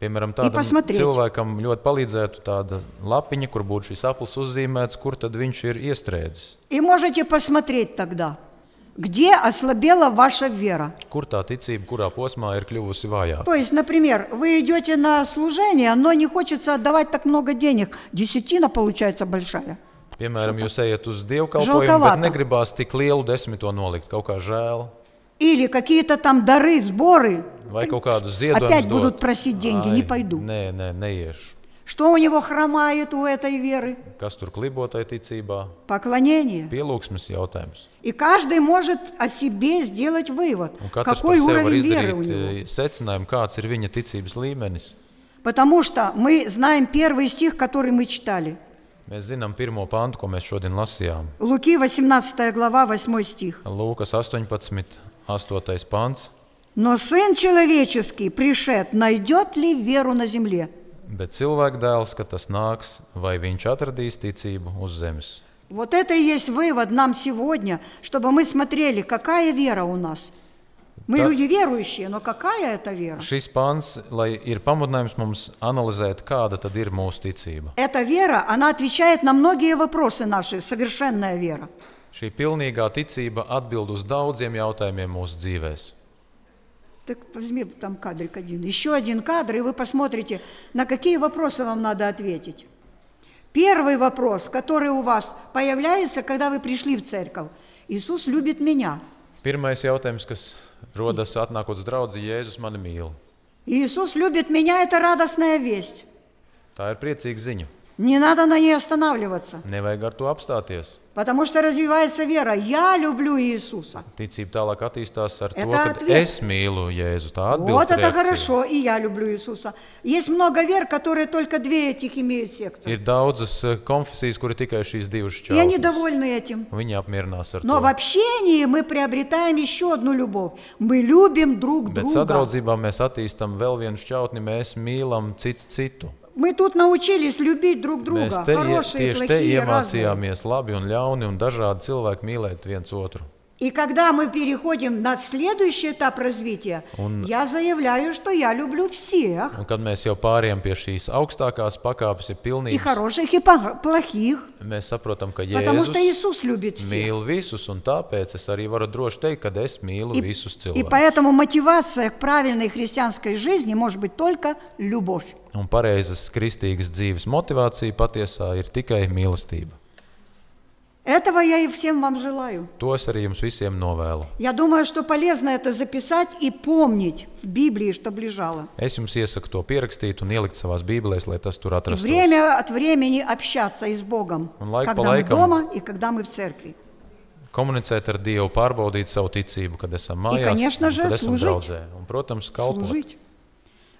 Piemēram,
I
tādam
pasmatrīt.
cilvēkam ļoti palīdzētu tāda lapiņa, kur būtu šis aplis uzzīmēts, kur tad viņš ir iestrēdzis.
И можете посмотреть тогда, где ослабела ваша вера.
Kur tā ticība, kurā posmā ir kļuvusi vājāka?
То есть, например, вы идете на служение, но не хочется отдавать так много денег. Десятина получается большая.
Piemēram, jūs ejat uz dievkalpojumu,
Žaltavāta.
bet negribās tik lielu desmito nolikt, kaut kā žēl.
Или какие-то там дары, сборы.
Vai kaut kādu ziedojumu.
Опять будут просить деньги, не пойду.
Nē, nē, neiešu.
Что у него хромает у этой веры?
Kas tur klibotai ticībā?
Поклонение.
Pielūgsmes jautājums.
И каждый может о себе сделать вывод,
Un katrs par
какой
sevi var
уровень веры у
izdarīt
него.
eh, secinājumu, kāds ir viņa ticības līmenis.
Потому что мы знаем первый стих, который мы читали.
Mēs zinām pirmo pantu, ko mēs šodien lasījām.
Луки, 18 глава, 8 стих.
Lūkas 18, 8. pants.
«Но Сын Человеческий пришед, найдет ли веру на земле?»
Bet cilvēka dēls, kad tas nāks, vai viņš atradīs ticību uz zemes?
Вот это и есть вывод нам сегодня, чтобы мы смотрели, какая вера у нас. Мы
Да.
люди верующие, но какая это вера?
Šis pāns lai ir pamudinājums mums analizēt, kāda tad ir mūsu ticība.
Эта вера, она отвечает на многие вопросы наши, совершенная вера.
Šī pilnīgā ticība atbild uz daudziem jautājumiem mūsu dzīvēm.
Так возьми там кадрик один, еще один кадр, и вы посмотрите, на какие вопросы вам надо ответить. Первый вопрос, который у вас появляется, когда вы пришли в церковь. Иисус любит меня.
Pirmais jautājums, kas rodas atnākot uz draugu, Jēzus mani mīl.
И Иисус любит меня – это радостная весть.
Tā ir priecīga ziņa.
Не надо на ней останавливаться,
Nevajag ar to apstāties.
потому что развивается вера. Я люблю Иисуса.
Ticība tālāk attīstās ar to,
Tā
ka
atviet-
es mīlu Jēzu. Tā
Вот это
atbilde
хорошо, и я люблю Иисуса. Есть много вер, которые только две этих имеют секты.
ir daudzas eh, konfesijas, kur ir tikai šīs divas
И они
čaukas.
довольны этим.
Viņi apmierinās ar
Но в
to.
общении мы приобретаем еще одну любовь. Мы любим друг
Bet
друга.
sadraudzībā mēs attīstām vēl vienu šķautni, mēs mīlam cits citu.
Мы тут научились любить друг
Mēs
друга.
te, ie-
Хорошие,
tieši te
плохие, разные.
iemācījāmies labi un ļauni un dažādi cilvēki mīlēt viens otru.
И когда мы переходим на следующий этап развития, я заявляю, что я люблю всех.
Un kad mēs jau pārējām pie šīs augstākās pakāpes, ir
И
pilnīgi
хороших, и пох- плохих.
mēs saprotam, ka
Потому что
Jēzus
Иисус любит всех.
mīl visus, un tāpēc es arī varu droši teikt, ka es mīlu
И,
visus
и
cilvēkus.
поэтому мотивация к правильной христианской жизни может быть только любовь.
Un pareizas kristīgas dzīves motivācija patiesā ir tikai mīlestība.
Этого я и всем вам желаю.
To es arī jums visiem novēlu.
Я думаю, что полезно это записать и помнить в Библии, чтобы лежало.
Es jums iesaku to pierakstīt un ielikt savā Bībelē, lai tas tur
И
atrastos.
время от времени общаться и с Богом,
Он лайк по
когда мы
лайкам.
дома и когда мы в церкви.
Komunicēt ar Dievu, pārbaudīt savu ticību, kad esam
I,
mājās,
конечно
un
же,
kad esam
служить.
draudzē. Un, protams, kalpot.
Служить.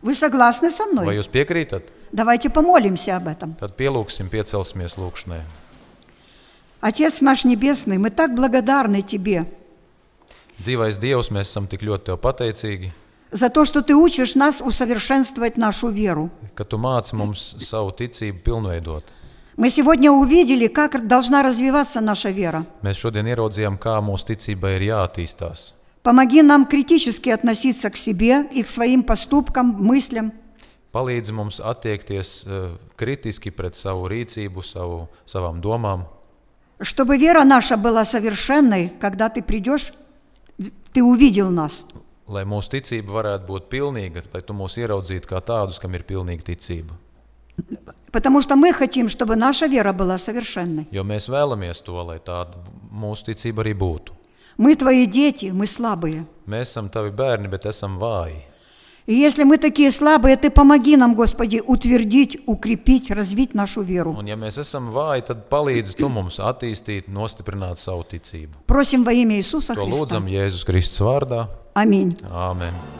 Вы согласны со
Vai
мной?
jūs piekrītat?
Давайте помолимся об этом.
Tad pielūgsim, piecelsimies lūgšanai.
Отец наш Небесный, мы так благодарны Тебе
Dzīvais Dievs, mēs esam tik ļoti tev pateicīgi,
за то, что Ты учишь нас усовершенствовать нашу веру.
ka tu māci mums savu ticību pilnveidot.
Мы сегодня увидели, как должна развиваться наша вера.
Mēs šodien ieraudzījām, kā mūsu ticībai ir jāattīstās.
Помоги нам критически относиться к себе и к своим поступкам, мыслям.
Palīdz mums attiekties eh, kritiski pret savu rīcību, savu, savām domām,
Чтобы вера наша была совершенной, когда ты придешь, ты увидел нас.
lai mūsu ticība varētu būt pilnīga, lai tu mūs ieraudzītu kā tādus, kam ir pilnīga ticība.
Потому что мы хотим, чтобы наша вера была совершенной.
Jo mēs vēlamies to, lai tāda mūsu ticība arī būtu.
Мы твои дети, мы слабые.
Mēs esam tavi bērni, bet esam vāji.
И если мы такие слабые, ты помоги нам, Господи, утвердить, укрепить, развить нашу веру.
Un ja mēs esam vāji, tad palīdz tu mums attīstīt, nostiprināt savu ticību.
Просим во имя Иисуса
To
Христа.
lūdzam Jēzus Kristus vārdā.
Аминь.
Āmen!